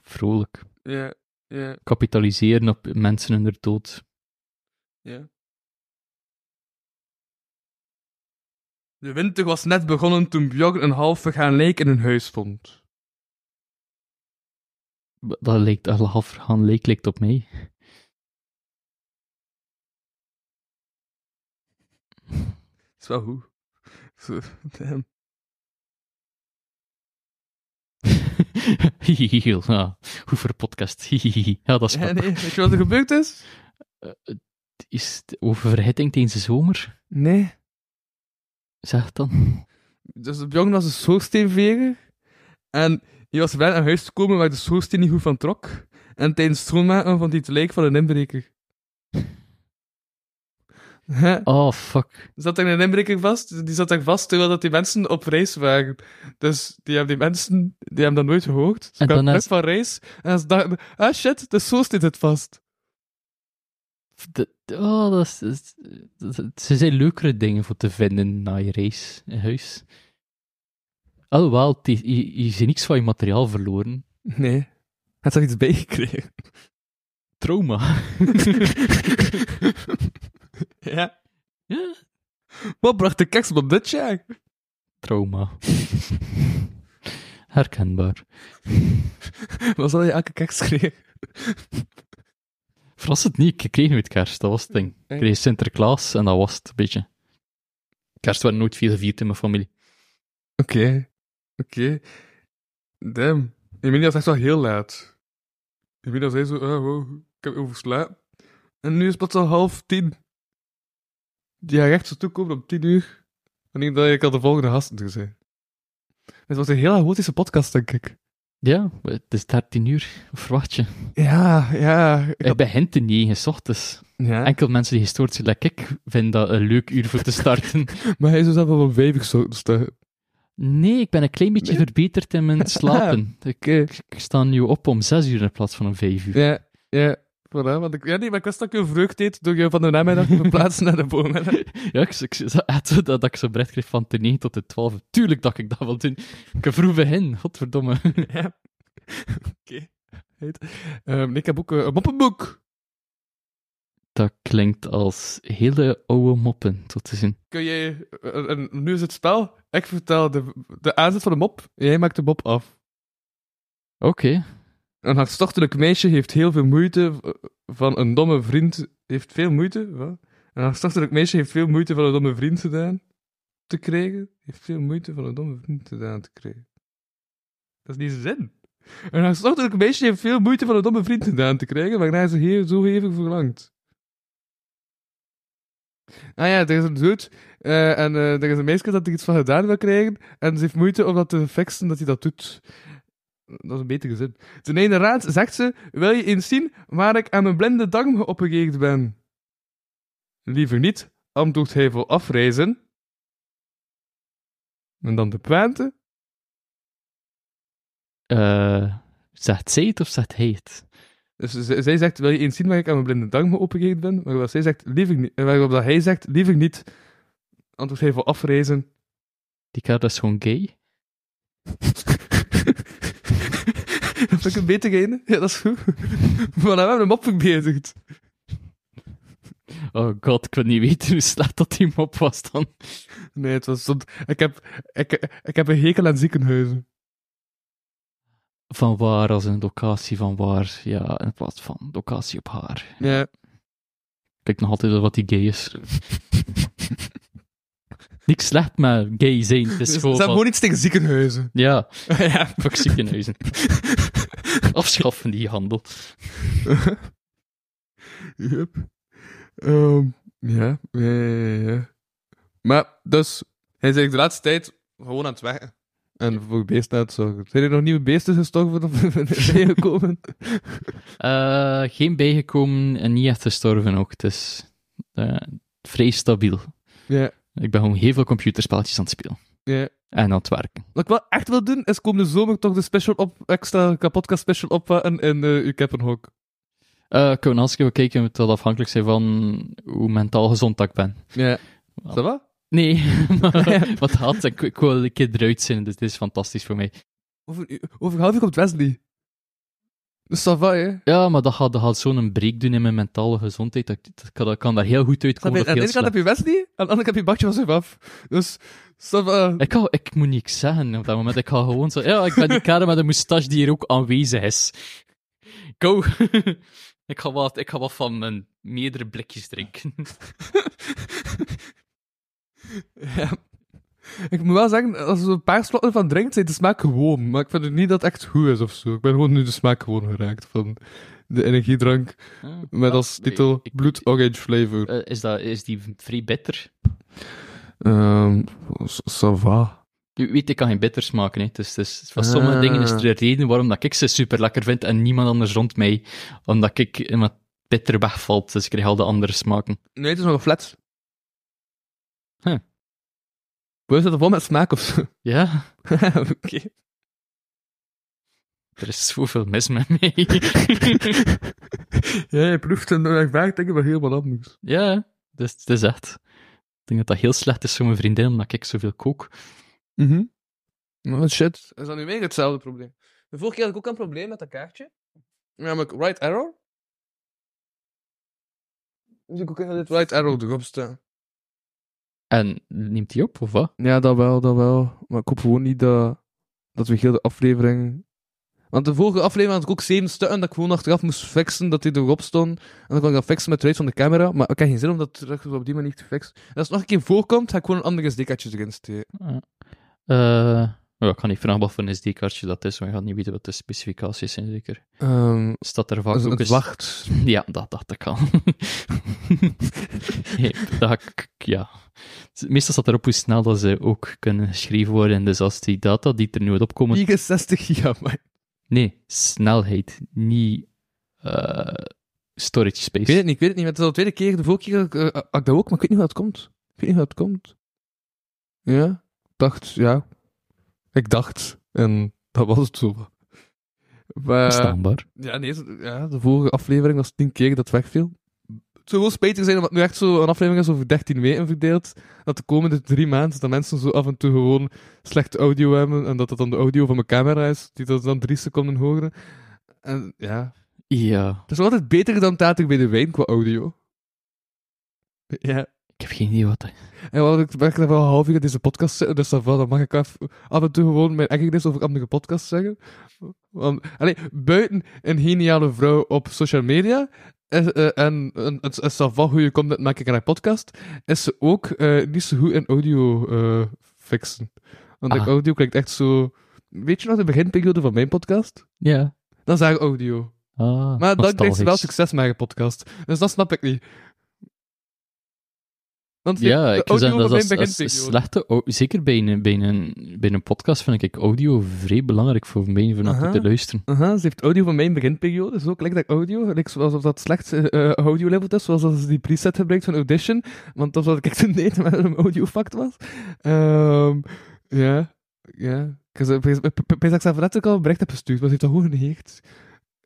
vrolijk? Ja, ja, Kapitaliseren op mensen in hun dood. ja. De winter was net begonnen toen Bjorn een half vergaan leek in hun huis vond. Dat lijkt, dat half vergaan leek, lijkt op mij. Dat is wel goed. Zo, Damn. Hihihihi, ja. Ah, Goed voor een podcast. Hihihihi. Ja, dat is Ja, wel- nee, weet je wat er gebeurd is? Is het overhitting tijdens de zomer? Nee. Zeg het dan. Dus Bjorn was een schoorsteenveger. En die was wel aan huis te komen waar de schoorsteen niet goed van trok. En tijdens het schoonmaken vond hij het lijk van een inbreker. Hè? Oh, fuck. Zat er een inbreker vast? Die zat daar vast terwijl dat die mensen op reis waren. Dus die hebben die mensen, die hebben dat nooit gehoord. Ze En kwamen dan terug is- van reis en ze dachten, ah shit, de schoorsteen zit vast. Dat- oh, dat is, dat is- dat- ze zijn leukere dingen voor te vinden na je race in huis. Alhoewel, het is- je, je ziet niks van je materiaal verloren. Nee. Had ze er iets bij gekregen? Trauma. ja. Ja, Wat bracht de kerstman dit jaar? Trauma. Herkenbaar. Wat zal je elke kerst krijgen? Verras het niet, ik kreeg nooit kerst, dat was het ding. Ik kreeg Sinterklaas en dat was het, een beetje. Kerst werd nooit veel gevierd in mijn familie. Oké. Oké. Damn. Emilia was echt wel heel laat. Emilia zei zo, oh, wow, ik heb overslapen. En nu is het plots al half tien. Die haar recht zou toekomen om tien uur. Wanneer dat ik al de volgende gasten er zijn. Het was een heel erotische podcast, denk ik. Ja, het is 13 uur, wat verwacht je? Ja, ja. Ik Het begint te 9 's ochtends. ja. Enkel mensen die gestoord zijn, like ik, vinden dat een leuk uur voor te starten. Maar hij is zelf wel een vijfig zo. Dus dat- Nee, ik ben een klein beetje Nee? verbeterd in mijn slapen. Ik, Oké. ik sta nu op om 6 uur in plaats van om 5 uur. eh, Ja, ja. Voilà, want ik, ja, nee, maar ik wist dat ik een vreugd deed door je van de namiddag te verplaatsen naar de bomen. Ja, ik, ik, echt zo dat, dat ik zo'n bericht kreeg van de 9 tot de 12. Tuurlijk dat ik dat wil doen. Ik kan vroeg begin, godverdomme. Ja. Oké. Heet. Ehm, ik heb ook eh, een moppenboek. Dat klinkt als hele oude moppen, tot te zien. Kun jij... eh, en nu is het spel. Ik vertel de, de aanzet van de mop. Jij maakt de mop af. Oké, Een hartstochtelijk meisje heeft heel veel moeite v- van een domme vriend... Heeft veel moeite... Wat? Een hartstochtelijk meisje heeft veel moeite van een domme vriend gedaan te krijgen. Heeft veel moeite van een domme vriend gedaan te krijgen. Dat is niet zin. Een hartstochtelijk meisje heeft veel moeite van een domme vriend gedaan te krijgen, waarna ze heel zo hevig verlangt. Ah ja, er is een dude eh, en eh, er is een meisje dat er iets van gedaan wil krijgen en ze heeft moeite om dat te fixen dat hij dat doet. Dat is een betere zin. Ten einde raad zegt ze, wil je eens zien waar ik aan mijn blinde darm geopereerd ben? Liever niet, antwoordt hij vol afreizen. En dan de puente. Eh, zegt zij het of zegt hij het? Dus z- zij zegt, wil je eens zien waar ik aan mijn blinde darm geopereerd ben? Waarop zij zegt, liever niet. eh, Waarop dat hij zegt, liever niet. Antwoordt hij vol afreizen. Die kerel is gewoon gay. dat vind ik een betere ene. Ja, dat is goed. Maar dan hebben we hem opgebezigd. Oh god, ik wil niet weten hoe slecht dat die mop was dan. Nee, het was... zot. Ik heb, ik, ik heb een hekel aan ziekenhuizen. Van waar als een locatie van waar, ja, in plaats van locatie op haar. Ja. Kijk nog altijd wel wat die gay is. Niks slecht, maar gay zijn. Het is Dus Ze gewoon hebben van- gewoon iets tegen ziekenhuizen. Ja, ja. fuck ziekenhuizen. Afschaffen die handel. Yep. Ehm, ja. Ja, ja, ja, ja. Maar, dus, hij is eigenlijk de laatste tijd gewoon aan het werken. En voor beesten aan het zorgen. Zijn er nog nieuwe beesten gestorven of gekomen? Eh, geen bijgekomen en niet echt gestorven ook. Het is eh, vrij stabiel. ja, Ik ben gewoon heel veel computerspelletjes aan het spelen. ja. En aan het werken. Wat ik wel echt wil doen, is komende zomer toch de special op, extra podcast special opvatten in eh uw Keppenhok. Eh, ik kan als even kijken, het zal afhankelijk zijn van hoe mentaal gezond dat ik ben. Ja. Wel. Is dat wat? Nee, maar wat had ik, ik wil een keer eruit zijn, dus dit is fantastisch voor mij. Over, een uur- over een half uur komt Wesley. Dus dat va, hè? Ja, maar dat gaat, dat gaat zo'n break doen in mijn mentale gezondheid. Dat, dat, kan, dat kan daar heel goed Snap je? uitkomen. Aan of de heel ene kant heb slecht. je Wesley, aan de andere kant heb je Bakje van zich af. Dus, dat va. Ik, kan, ik moet niks zeggen op dat moment. Ik ga gewoon zo... Ja, ik ben die kerel met een moustache die hier ook aanwezig is. Go! ik, ga wat, ik ga wat van mijn meerdere blikjes drinken. Ja. Ik moet wel zeggen, als er een paar slotten van drinkt, zijn de smaak gewoon. Maar ik vind het niet dat het echt goed is of zo. Ik ben gewoon nu de smaak gewoon geraakt van de energiedrank met als Ah, titel ik- Bloed Orange Flavor. eh, is, dat, is die vrij bitter? Ehm, ça va. Je weet, ik kan geen bitters maken, hè. Dus, dus van sommige Ah. dingen is er de reden waarom dat ik ze super lekker vind en niemand anders rond mij. Omdat ik in wat bitter wegvalt, dus ik krijg al de andere smaken. Nee, het is nog een flat. Huh. We zitten vol met smaak of zo. Ja, Oké. er is zoveel mis met mij. Ja, je proeft en dan vaak denk ik wel helemaal anders. ja, dus het is echt. Ik denk dat dat heel slecht is voor mijn vriendin, omdat ik zoveel kook. Mhm. Oh shit. Is dat nu weer hetzelfde probleem? De vorige keer had ik ook een probleem met dat kaartje. Namelijk right arrow. Dus ik ook in dit right arrow erop staan. En neemt die op, of wat? Ja, dat wel, dat wel. Maar ik hoop gewoon niet dat, dat we heel de aflevering... Want de vorige aflevering had ik ook zeven stukken dat ik gewoon achteraf moest fixen dat die erop stond. En dan kon ik dat fixen met de ruit van de camera. Maar ik heb geen zin om dat terug op die manier te fixen. En als het nog een keer voorkomt, ga ik gewoon een ander SD-kaartje erin steken. Eh, ja, ik kan niet vragen wat voor een SD-kaartje dat is, want je gaat niet weten wat de specificaties zijn, zeker. Ehm Staat er vaak als ook het eens- wacht. Ja, dat dacht ik al. Nee, dat, k- k- ja. Meestal staat erop hoe snel dat ze ook kunnen geschreven worden. Dus als die data die er nu op komen... 64 gigabyte. Nee, snelheid, niet eh, storage Ik weet space. het niet, ik weet het niet. maar Het is al de tweede keer, de vorige keer had ik, eh, had ik dat ook, maar ik weet niet hoe dat komt. Ik weet niet hoe dat komt. Ja, ik dacht, ja. Ik dacht, en dat was het zo. Maar, Verstaanbaar. ja, nee, zo- ja, de vorige aflevering was tien keer dat het wegviel. Het zou wel spijtig zijn, omdat het nu echt zo een aflevering is over 13 weken verdeeld. Dat de komende drie maanden dat mensen zo af en toe gewoon slecht audio hebben. En dat dat dan de audio van mijn camera is, die dat dan drie seconden horen. En ja, Eh, Ja, het is nog altijd beter dan Tater bij de Wijn qua audio. Ja. ik heb geen idee wat dat... En wat ik merk dat we al een half uur in deze podcast zitten, dus dan, dan mag ik af, af en toe gewoon mijn ergernis over andere podcasts zeggen. Want, allee, buiten een geniale vrouw op social media en, eh, en, en het het savat hoe je content maakt in haar podcast, is ze ook eh, niet zo goed in audio eh, fixen. Want Ah. audio klinkt echt zo... Weet je nog de beginperiode van mijn podcast? Ja. Dan zag ik audio. Ah, Maar dan kreeg ze wel nostalgisch. succes met haar podcast. Dus dat snap ik niet. Want ik- de Ja, ik zou audio zeggen dat van is mijn als, als beginperiode. slechte... au- Zeker bij een, bij, een, bij een podcast vind ik audio vrij belangrijk voor mij om Aha. te luisteren. Aha, ze heeft audio van mijn beginperiode. Zo klinkt dat audio. Lijkt alsof dat slecht eh eh, audio-level is. Zoals als ze die preset gebruikt van Audition. Want dat was wat ik toen deed, maar een audio-fact was. Ehm, ja, ja. Ik heb ze- ik heb- ik heb dat ik zelf net ook al een bericht heb gestuurd, maar ze heeft dat gewoon genegeerd.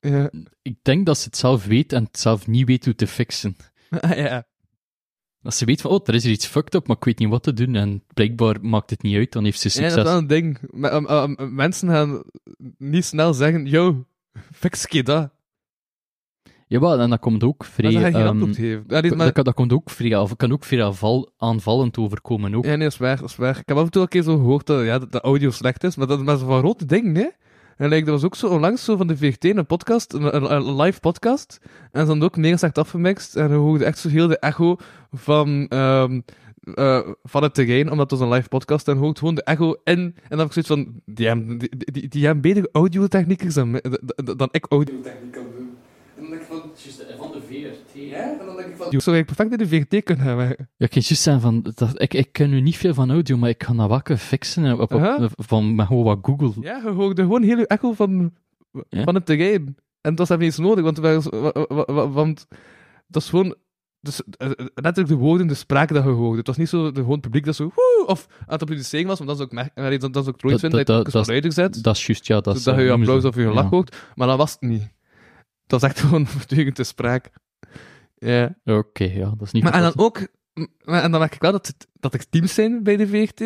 Ja. Ik denk dat ze het zelf weet en het zelf niet weet hoe te fixen. Ah, ja. Dat ze weet van, oh, er is hier iets fucked up, maar ik weet niet wat te doen. En blijkbaar maakt het niet uit, dan heeft ze ja, succes. dat is wel een ding. Maar, ehm, ehm, mensen gaan niet snel zeggen, yo, fix je dat. Jawel, en dat komt ook vrij... Maar dat ga je geen ehm, antwoord geven. Ja, nee, dat- maar- dat, kan- dat komt ook vrij, af- kan ook vrij aanval, aanvallend overkomen ook. ja, nee, dat is waar, dat is waar. Ik heb af en toe een keer zo gehoord dat, ja, dat de audio slecht is, maar dat maar zo van rote ding, nee? En like, er was ook zo onlangs zo van de VRT een podcast, een, een- een live podcast, en ze hadden ook mega slecht afgemixt, en je hoorde echt zo heel de echo van, ehm, eh, van het terrein, omdat het was een live podcast, en je hoort gewoon de echo in, en dan heb ik zoiets van, die hebben, die, die, die hebben betere audiotechniekers dan, mij- d- d- dan ik audiotechniek kan doen. En dan denk ik van, eh, Van de VRT. ja, en dan denk ik van, zo zou ik perfect in de VRT kunnen gaan werken. Ja, ik kan juist zeggen van, dat, ik, ik ken nu niet veel van audio, maar ik kan dat wakker fixen op, op, Aha. van met gewoon wat Google. Ja, je hoorde gewoon heel je echo van, Ja. van het terrein. En dat is even iets nodig, want, wij- wa- wa- wa- want dat is gewoon... Dus, eh, eh, letterlijk de woorden, de spraak dat je hoorde. Het was niet zo de, gewoon het publiek dat zo... Woe, of aan het applaudisseren was, want dat is ook, mer- eh, dat, dat is ook Dat- trots vinden dat je dat- het ook eens dat- wat luider zet. Dat is juist, ja. Dat, is, zodat je eh, je noemen ze- applaus of je ja. lach hoort. Maar dat was het niet. Dat is echt gewoon voortdurend te sprake. Ja. Oké, ja, dat is niet Maar en dan verrassend. ook, m- en dan merk ik wel dat, het- dat er teams zijn bij de VRT.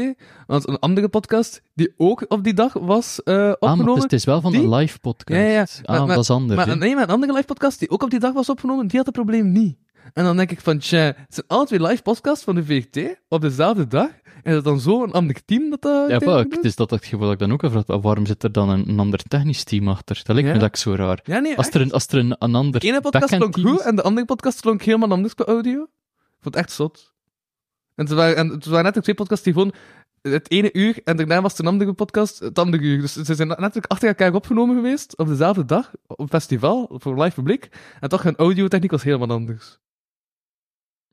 Want een andere podcast die ook op die dag was eh, Ah, maar het is, opgenomen. het is wel van Die? een live podcast. Ja, ja, ja. Ah, Maar- maar- dat is anders. maar, hè. nee, maar een andere live podcast die ook op die dag was opgenomen, die had het probleem niet. En dan denk ik van, tja, het zijn alle twee live podcasts van de VRT op dezelfde dag. En dat dan zo'n ander team dat dat... Ja, uiteindelijk fuck. doet? Het is dat het gevoel dat ik dan ook heb gehad. Waarom zit er dan een, een ander technisch team achter? Dat lijkt Ja. me dat ik zo raar. Ja, nee, Als er een, als er een, een ander De ene podcast backend klonk team goed is- en de andere podcast klonk helemaal anders qua audio. Ik vond het echt zot. En het waren, en het waren net ook twee podcasts die gewoon het ene uur en daarna was het een andere podcast het andere uur. Dus ze zijn natuurlijk achter elkaar opgenomen geweest op dezelfde dag, op een festival, voor live publiek. En toch hun audiotechniek was helemaal anders.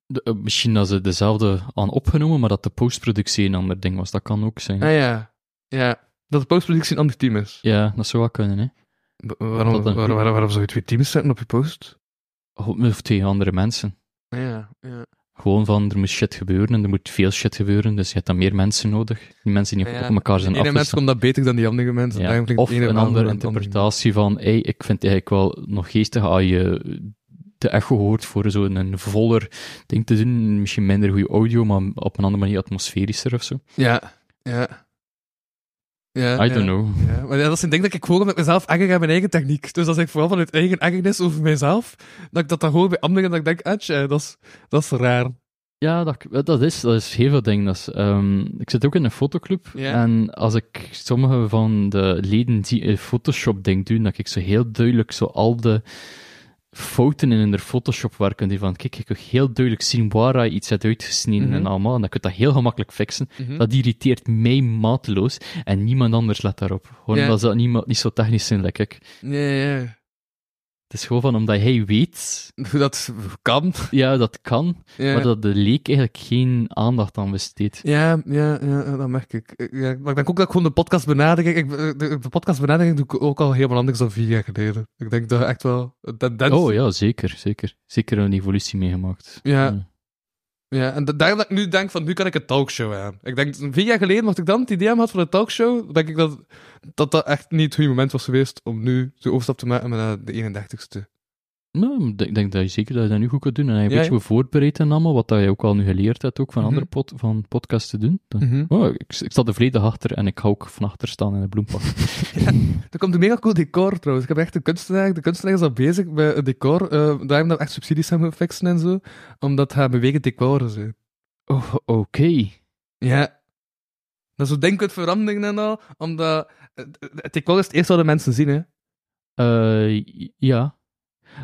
de- eh, misschien dat ze dezelfde aan opgenomen, maar dat de postproductie een ander ding was. Dat kan ook zijn. Ah ja, ja. Dat de postproductie een ander team is. Ja, dat zou wel kunnen, hè. Waarom, Wat een- waar, waar- waarom zou je twee teams zetten op je post? Of of tegen andere mensen. Ah, Ja, ja. Gewoon van, er moet shit gebeuren en er moet veel shit gebeuren, dus je hebt dan meer mensen nodig. Die mensen die op, Ja, op elkaar zijn De ene mens afgestemd. komt dat beter dan die andere mensen. Dus Ja. Daarom klinkt Of het ene een wel andere dan het andere. interpretatie van, hey, ik vind het eigenlijk wel nog geestig als je de echo hoort voor zo'n een voller ding te doen. Misschien minder goede audio, maar op een andere manier atmosferischer of zo. Ja, ja. ja I ja. don't know. Ja, maar ja, dat is een ding dat ik hoor omdat ik mezelf erger aan mijn eigen techniek. Dus dat is vooral vanuit eigen ergernis over mijzelf, dat ik dat dan hoor bij anderen en dat ik denk, ah, tja, dat is, dat is raar. Ja, dat, dat, is, dat is heel veel dingen. Dat is, ehm, ik zit ook in een fotoclub. Ja. En als ik sommige van de leden die een Photoshop-ding doen, dat ik zo heel duidelijk zo al de fouten in hun Photoshop werken. Die van, kijk, je kunt heel duidelijk zien waar hij iets heeft uitgesneden Mhm. en allemaal. En dat kun je dat heel gemakkelijk fixen. Hm? Dat irriteert mij mateloos. En niemand anders let daarop. Gewoon Ja. omdat ze niemand, niet zo technisch zijn, like ik. Mhm. Ja, ja, ja. Het is gewoon van, omdat hij weet, Hoe dat kan. ja, dat kan. Ja. Maar dat de leek eigenlijk geen aandacht aan besteedt. Ja, ja, ja, dat merk ik. Eh, Ja, maar ik denk ook dat ik gewoon de podcast benadering... Ik, eh, de, de podcast benadering doe ik ook al helemaal anders dan vier jaar geleden. Ik denk dat echt wel... een tendens Oh ja, zeker, zeker. Zeker een evolutie meegemaakt. Ja. Ja, en da- daarom dat ik nu denk van, nu kan ik een talkshow aan. Ik denk, vier jaar geleden, mocht ik dan het idee aan had voor een talkshow, denk ik dat dat, dat echt niet het goede moment was geweest om nu de overstap te maken naar de 31ste. Nou, ik denk- denk dat je zeker dat je dat nu goed kunt doen. En dat je een Ja, beetje ja. goed voorbereid en allemaal, wat dat je ook al nu geleerd hebt ook van Mhm. andere pod, van podcasts te doen. Dan- Oh, ik, ik sta er volledig achter en ik hou ook van achter staan in de bloempak. Er komt een mega cool decor trouwens. Ik heb echt een kunstenaar, de kunstenaar is al bezig met het decor. eh daarom dat we echt subsidies hebben fixen en zo, omdat haar bewegend decoren zijn. oh, oké. Ja. Dat is zo denk het veranderen en al, omdat eh, het decor is het eerste wat de mensen zien, hè. Eh, ja.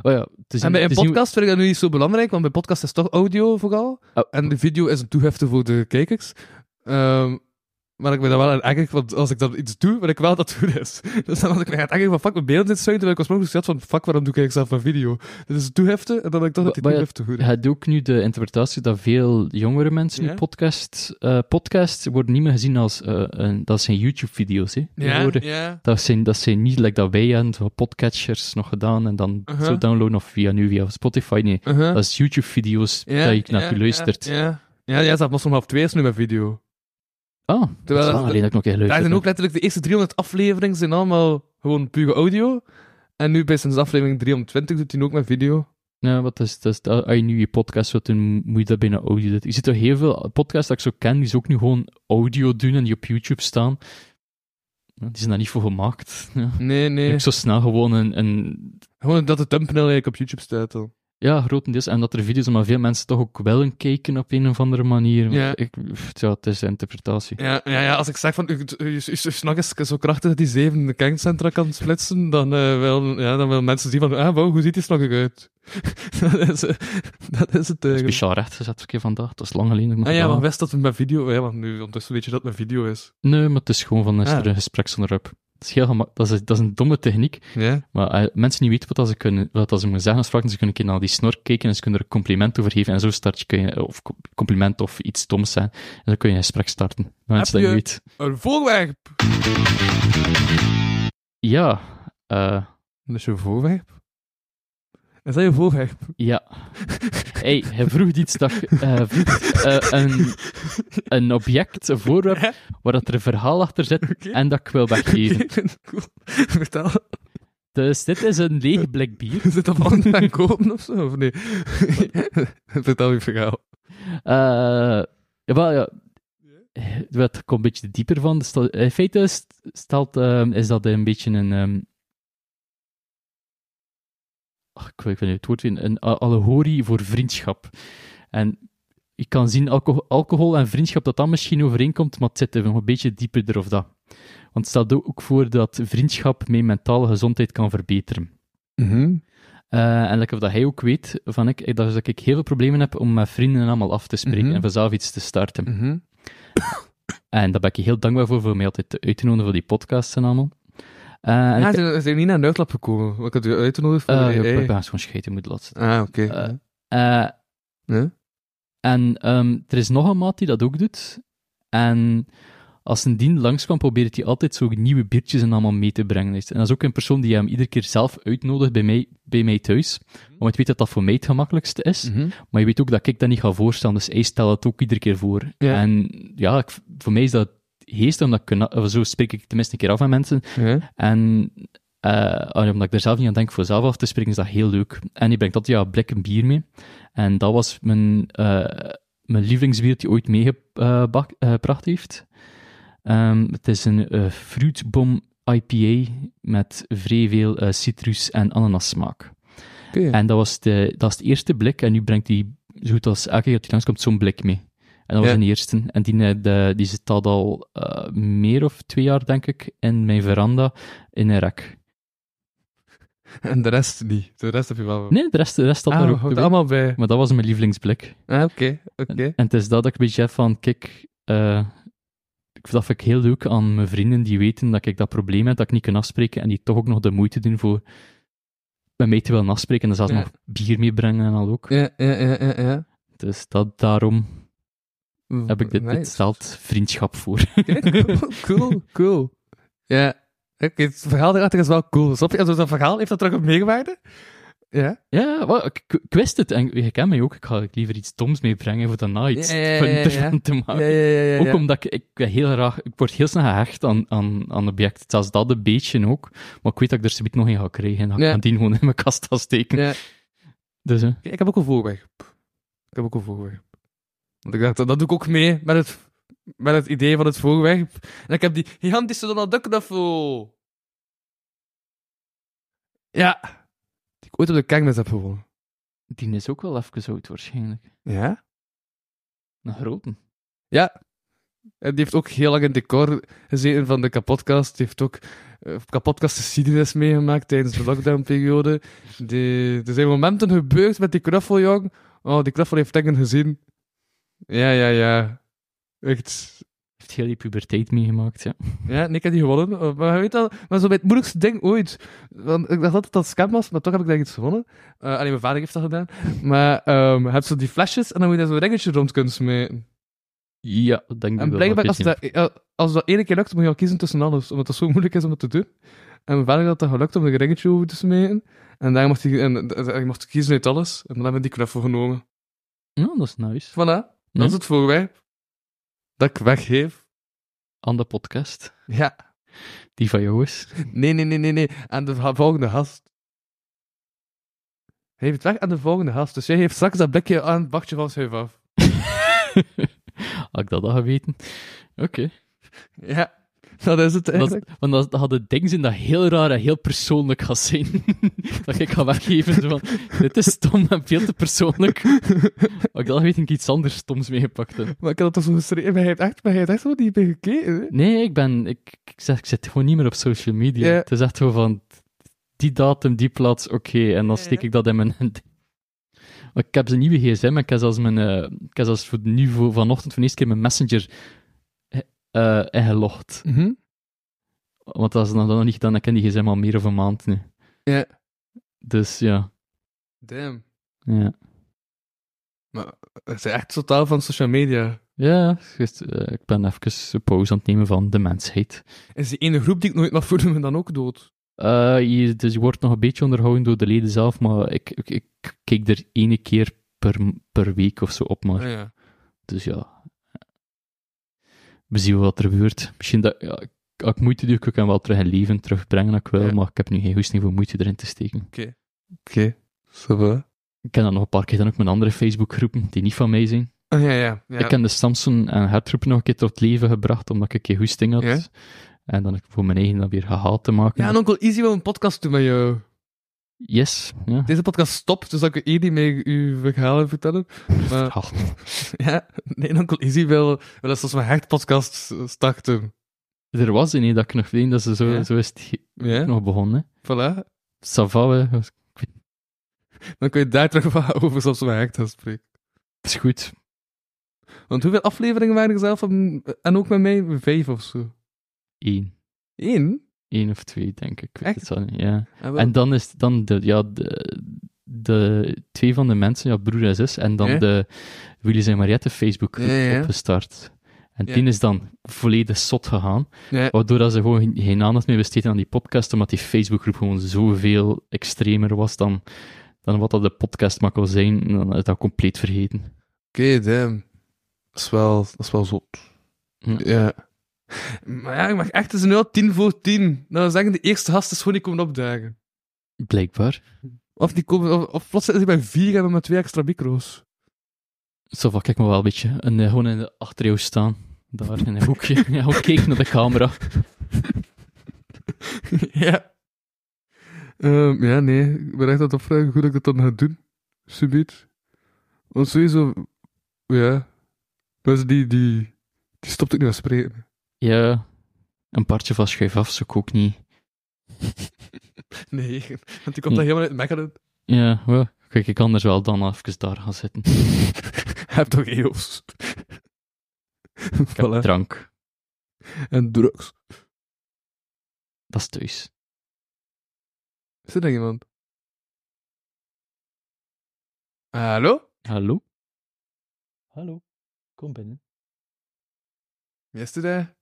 Oh ja, het is en bij een het is niet- podcast vind ik dat nu niet zo belangrijk, want bij podcast is toch audio vooral. Oh. En de video is een toehefte voor de kijkers. Ehm, maar ik ben daar wel aan erger, want als ik dan iets doe, wil ik wel dat het goed is. Dus dan had ik me aan het erger van, fuck, mijn beeld zit zo in, terwijl ik oorspronkelijk zat van, fuck, waarom doe ik eigenlijk zelf mijn video? Dit is een toehefte, en dan denk ik toch dat die Maar- maar ja, toehefte goed Je is. hebt ook nu de interpretatie dat veel jongere mensen Ja. nu podcasts... eh, podcasts worden niet meer gezien als... eh, een, dat zijn YouTube-video's, hè. Die worden- ja. Dat zijn, dat zijn niet like dat wij hebben, zo podcatchers nog gedaan en dan Uh-huh. zo downloaden of via nu via Spotify. Nee, Uh-huh. dat is YouTube-video's Ja, dat je naar ja, geluisterd. Ja, ja. ja, ja zelfs Moslim half 2 is nu mijn video. Ah, dat is dat- lang alleen dat ik nog een Daar geluisterd zijn ook heb. letterlijk de eerste 300 afleveringen zijn allemaal gewoon pure audio. En nu bij zijn aflevering 320 doet hij nu ook met video. Ja, wat is, dat is, dat- als je nu je podcast wilt doen, moet je dat binnen audio doen. Je ziet toch heel veel podcasts dat ik zo ken, die ze ook nu gewoon audio doen en die op YouTube staan. Ja, Die zijn daar niet voor gemaakt. Ja. Nee, Je nee. hebt zo snel gewoon een, een Gewoon dat de thumbnail eigenlijk op YouTube staat al. Ja, grotendeels. En dat er video's zijn, maar veel mensen toch ook wel een kijken op een of andere manier. Ja. Ik, pff, ja, het is een interpretatie. Ja, ja, ja als ik zeg van, je, je, je, je snak is zo krachtig dat die zeven de kerncentra kan splitsen, dan, eh wil, ja, dan wil mensen zien van, ah, wow, hoe ziet die snak eruit? dat, is, eh, dat is het eigenlijk. Speciaal rechtgezet verkeer vandaag, dat is lang geleden. dat ik Ah nog ja, gedaan maar heb. wist dat het mijn video... Ja, want nu ondertussen weet je dat het mijn video is. Nee, maar het is gewoon van, is Ah. er een gespreksonderwerp. Dat is, heel gema- dat, is, dat is een domme techniek, Ja? maar eh, mensen die weten wat dat ze, kunnen, wat dat ze moeten zeggen, als vragen, ze kunnen een keer naar die snor kijken en ze kunnen er een compliment over geven en zo start je, kun je of co- compliment of iets doms zijn, en dan kun je een gesprek starten. Met Heb Mensen dat je je- weet. Een voorwerp! Ja, eh, Dat is je voorwerp? Is dat je voorwerp? ja. hey, hij vroeg iets dat... eh, vroeg, eh, een, een object, een voorwerp, Ja. waar dat er een verhaal achter zit en dat ik wil weggeven. Vertel. Dus dit is een leeg blik bier. Is dit op handen aan kopen of zo? Of nee? Vertel je verhaal. Eh, ja, wel, ja. Het komt een beetje dieper van. Dus dat- In feite st- stelt, ehm, is dat een beetje een. ehm, ach, ik weet ik weet niet het woord, een, een a- allegorie voor vriendschap. En je kan zien alco- alcohol en vriendschap dat dat misschien overeenkomt, maar het zit er nog een beetje dieper of dat. Want het stelt ook voor dat vriendschap mijn mentale gezondheid kan verbeteren. Eh, en lekker of dat hij ook weet van ik, ik- dat ik heel veel problemen heb om met vrienden allemaal af te spreken Mhm. en vanzelf iets te starten. Mhm. En daar ben ik je heel dankbaar voor, voor mij altijd uit te nodigen voor die podcasts en allemaal. Eh, en Ja, ik, ze zijn niet naar de uitlap gekomen. Wat had je uitgenodigd voor eh, de ik EE? ben gewoon scheten, moet laten. Ah, oké. Eh, Eh, Ja. En ehm, er is nog een maat die dat ook doet. En als een dien langskwam, probeert hij altijd zo nieuwe biertjes en allemaal mee te brengen. Dus, En dat is ook een persoon die hem iedere keer zelf uitnodigt bij mij, bij mij thuis. Want ik weet dat dat voor mij het gemakkelijkste is. Mhm. Maar je weet ook dat ik dat niet ga voorstellen, dus hij stelt het ook iedere keer voor. Ja. En ja, ik- voor mij is dat geestig, omdat ik, kan- of zo spreek ik tenminste een keer af aan mensen. Ja. En eh, omdat ik er zelf niet aan denk voor zelf af te spreken, is dat heel leuk. En je brengt altijd ja, blikken bier mee. En dat was mijn, eh, mijn lievelingsbier die ooit meegebracht heeft. Ehm, het is een eh, fruitbom IPA met vrij veel eh, citrus- en ananassmaak. Oké. En dat was, de, dat is het eerste blik. En nu brengt hij, zo goed als elke keer dat hij langskomt, zo'n blik mee. En dat was Ja. een eerste. En die, eh, de, die zit dat al eh, meer of twee jaar, denk ik, in mijn veranda in een rek. En de rest niet. De rest heb je wel. Nee, de rest, de rest staat Ah, daar houdt ook het bij. allemaal bij. Maar dat was mijn lievelingsblik. Ah, oké. Oké. En het is dat dat ik een beetje heb van, kijk, eh, ik dat vind ik heel leuk aan mijn vrienden die weten dat ik dat probleem heb, dat ik niet kan afspreken en die toch ook nog de moeite doen voor met mij te willen afspreken en dan zelfs Ja. nog bier meebrengen en al ook. Ja, ja, ja, ja, ja. Dus dat, daarom heb ik dit, dit Nice. stelt vriendschap voor. Oké, cool, cool. Ja. Oké, het verhaal daarachter is wel cool. Snap je? Als dat verhaal heeft dat terug een meerwaarde? Ja. Ja, wel, ik, ik- ik wist het. En je kent mij ook. Ik ga liever iets doms meebrengen voor daarna iets Ja, ja, ja, punter ja, ja. van te Ja, maken. ja, ja, ja. Ook omdat ik, ik ben heel graag... Ik word heel snel gehecht aan, aan, aan objecten. Zelfs dat een beetje ook. Maar ik weet dat ik er zoiets nog in ga krijgen. En dat Ja. ik kan die gewoon in mijn kast ga steken. Ja. Dus, hè. Ik heb ook een voorweg. Ik heb ook een voorweg. Want ik dacht, dat dat doe ik ook mee met het, met het idee van het voorweg. En ik heb die gigantische Donald Duck knuffel. Ja. Die ik ooit op de kermis heb gewonnen. Die is ook wel even oud waarschijnlijk. Ja? Een grote. Ja. En die heeft ook heel lang in het decor gezeten van de kapotkast. Die heeft ook eh, kapotkast geschiedenis meegemaakt tijdens de lockdownperiode. Die, er zijn momenten gebeurd met die knuffel, jong. Oh, die knuffel heeft dingen gezien. Ja, ja, ja. Echt Heeft heel die puberteit meegemaakt, ja. Ja, en ik heb die gewonnen. Eh, Maar je weet al, maar zo bij het moeilijkste ding ooit. Want ik dacht altijd dat het scam was, maar toch heb ik daar iets gewonnen. Eh alleen mijn vader heeft dat gedaan. Maar ehm je hebt zo die flesjes en dan moet je daar zo'n ringetje rond kunnen smeten. Ja, dat denk ik En wel. dat blijkbaar, als weet je dat, eh, als dat ene keer lukt, moet je al kiezen tussen alles. Omdat het zo moeilijk is om dat te doen. En mijn vader had dat gelukt om er een ringetje over te smeten. En daar mocht hij, en, en- en je mocht kiezen uit alles. En dan hebben we die knuffel genomen. niet. Ja, dat is nice. Voilà, dat Ja. is het voorwerp. Dat ik weggeef. Aan de podcast. Ja. Die van jou is. Nee, nee, nee, nee, nee. Aan de va- volgende gast. Hij heeft het weg aan de volgende gast. Dus jij heeft straks dat blikje aan het bakje van schuif af. Had ik dat al geweten? Oké. Ja, dat is het Dat, eigenlijk. want dat, dat had het ding zijn dat heel raar en heel persoonlijk gaat zijn. dat ik ga weggeven. zo van, dit is stom en veel te persoonlijk. Maar ik dacht, weet ik iets anders stoms meegepakt. heb. Maar ik had dat toch zo geschreven. Maar hij heeft echt, maar hij heeft echt zo niet bij gekeken. hè? Nee, ik ben... Ik, ik, zeg, ik zit gewoon niet meer op social media. Ja. Het is echt zo van... Die datum, die plaats, oké. en dan steek ik dat in mijn... Maar ik heb zijn nieuwe gsm en ik heb zelfs, mijn, eh, ik heb zelfs voor, nu voor vanochtend voor de eerste keer mijn messenger eh, eh, ingelogd. Want dat is nog, dat nog niet gedaan, dan ken die gsm al meer of een maand nu. Ja. Dus ja. Damn. Ja, Dat is echt totaal van social media. ja gist- eh, ik ben even een pauze aan het nemen van de mensheid. Is die ene groep die ik nooit mag voeden, dan ook dood? Eh, je, dus je wordt nog een beetje onderhouden door de leden zelf, maar ik, ik, ik kijk er ene keer per, per week of zo op. Maar, Ah, ja. Dus ja. We zien wat er gebeurt. Misschien dat, ja, ik als ik moeite doe, kan ik hem wel terug in leven terugbrengen, als ik wil, Ja. maar ik heb nu geen goesting voor moeite erin te steken. Oké, ça va. Ik ken dat nog een paar keer dan ook mijn andere Facebookgroepen, die niet van mij zijn. Ah, ja, ja. ja. Ik heb de Samsung en Hertroep nog een keer tot leven gebracht, omdat ik een keer goesting had. Ja. En dan heb ik voor mijn eigen dat weer gehaald te maken. Ja, en onkel Easy wil een podcast doen met jou. Yes, ja. Deze podcast stopt, dus dat ik Edi mee uw verhalen vertellen. Maar Verhaal. ja, nee, onkel Easy wil, wil dat zoals mijn hechtpodcast starten. Er was een hè, dat ik nog weet, dat ze zo, Ja. zo is het ge- Ja, nog begonnen. voilà. Savawe, het Dan kun je daar terug wat over zoals mijn hecht gaan spreken. is goed. Want hoeveel afleveringen waren er zelf en en ook met mij? Vijf of zo. Eén. Eén? Eén of twee, denk ik. ik weet Echt? het al niet, ja. Ah, wel. En dan is het dan de, ja, de, de twee van de mensen, ja, broer en zus, en dan Ja. de Willy's en Mariette Facebook Ja, ja, ja. opgestart. En Ja. die is dan volledig zot gegaan, Ja. waardoor dat ze gewoon geen- geen aandacht meer besteedden aan die podcast, omdat die Facebookgroep gewoon zoveel extremer was dan, dan wat dat de podcast maar kon zijn. En dan is dat compleet vergeten. Oké, damn. Dat is wel, dat is wel zot. Ja. Maar ja, ik mag echt, het is nu al tien voor tien. Nou, we zeggen, de eerste gast is gewoon niet komen opdagen. Blijkbaar. Of, die komen, of, of plots zitten ze bij vier en hebben maar twee extra micro's. Sava, kijk maar wel een beetje. En, eh, gewoon in de achter jou staan. Daar in een hoekje. Ja, ook kijk naar de camera. ja. Ehm, ja, nee. Ik ben echt aan het opvragen hoe ik dat dan ga doen. Subiet. Want sowieso... Ja. Mensen die... Die, die stopt ook niet met spreken. Ja, een partje van schuif af zoek ik ook niet. Nee, want die komt Nee. dan helemaal uit Mechelen. Ja, wel. Kijk, ik anders wel dan even daar gaan zitten. Heb toch eeuws. Ik heb voilà. drank. En drugs. Dat is thuis. Is er nog iemand? Hallo? Hallo? Hallo, kom binnen. Wie is er daar?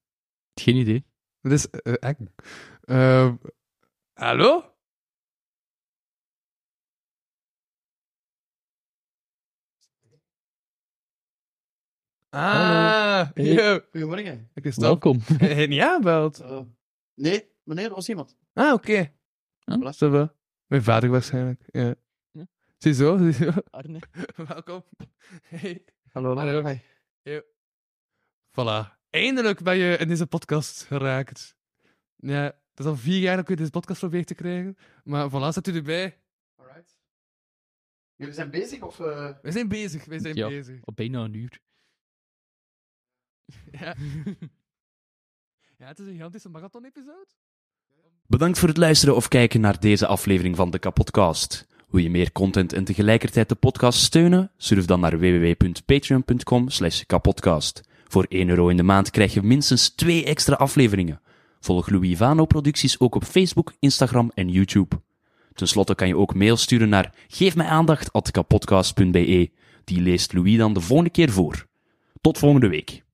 Geen idee. Dat is eh, eng. Ehm, hallo? Ah, Hey. yo. Goedemorgen. Ik is dat. Welkom. Hij heeft niet aanbeld. Eh, nee, meneer, er was iemand. Ah, oké. Ah. Voilà. Ça va. Mijn vader waarschijnlijk. Ja. Ja. Ziezo, ziezo. Arne. Welkom. Hey. Hallo, Hallo. Hey. Voilà. Eindelijk ben je in deze podcast geraakt. Ja, het is al vier jaar dat ik deze podcast probeer te krijgen. Maar voilà, zet u erbij. Alright. Jullie zijn bezig of... eh, We zijn bezig, we zijn Ja. bezig. Al bijna een uur. Ja. ja, het is een gigantische marathon-episode. Bedankt voor het luisteren of kijken naar deze aflevering van de Kapodcast. Wil je meer content en tegelijkertijd de podcast steunen? Surf dan naar www.patreon.com slash kapodcast. Voor 1 euro in de maand krijg je minstens 2 extra afleveringen. Volg Louis Vano producties ook op Facebook, Instagram en YouTube. Ten slotte kan je ook mail sturen naar geefmijaandacht.kapodcast.be. Die leest Louis dan de volgende keer voor. Tot volgende week.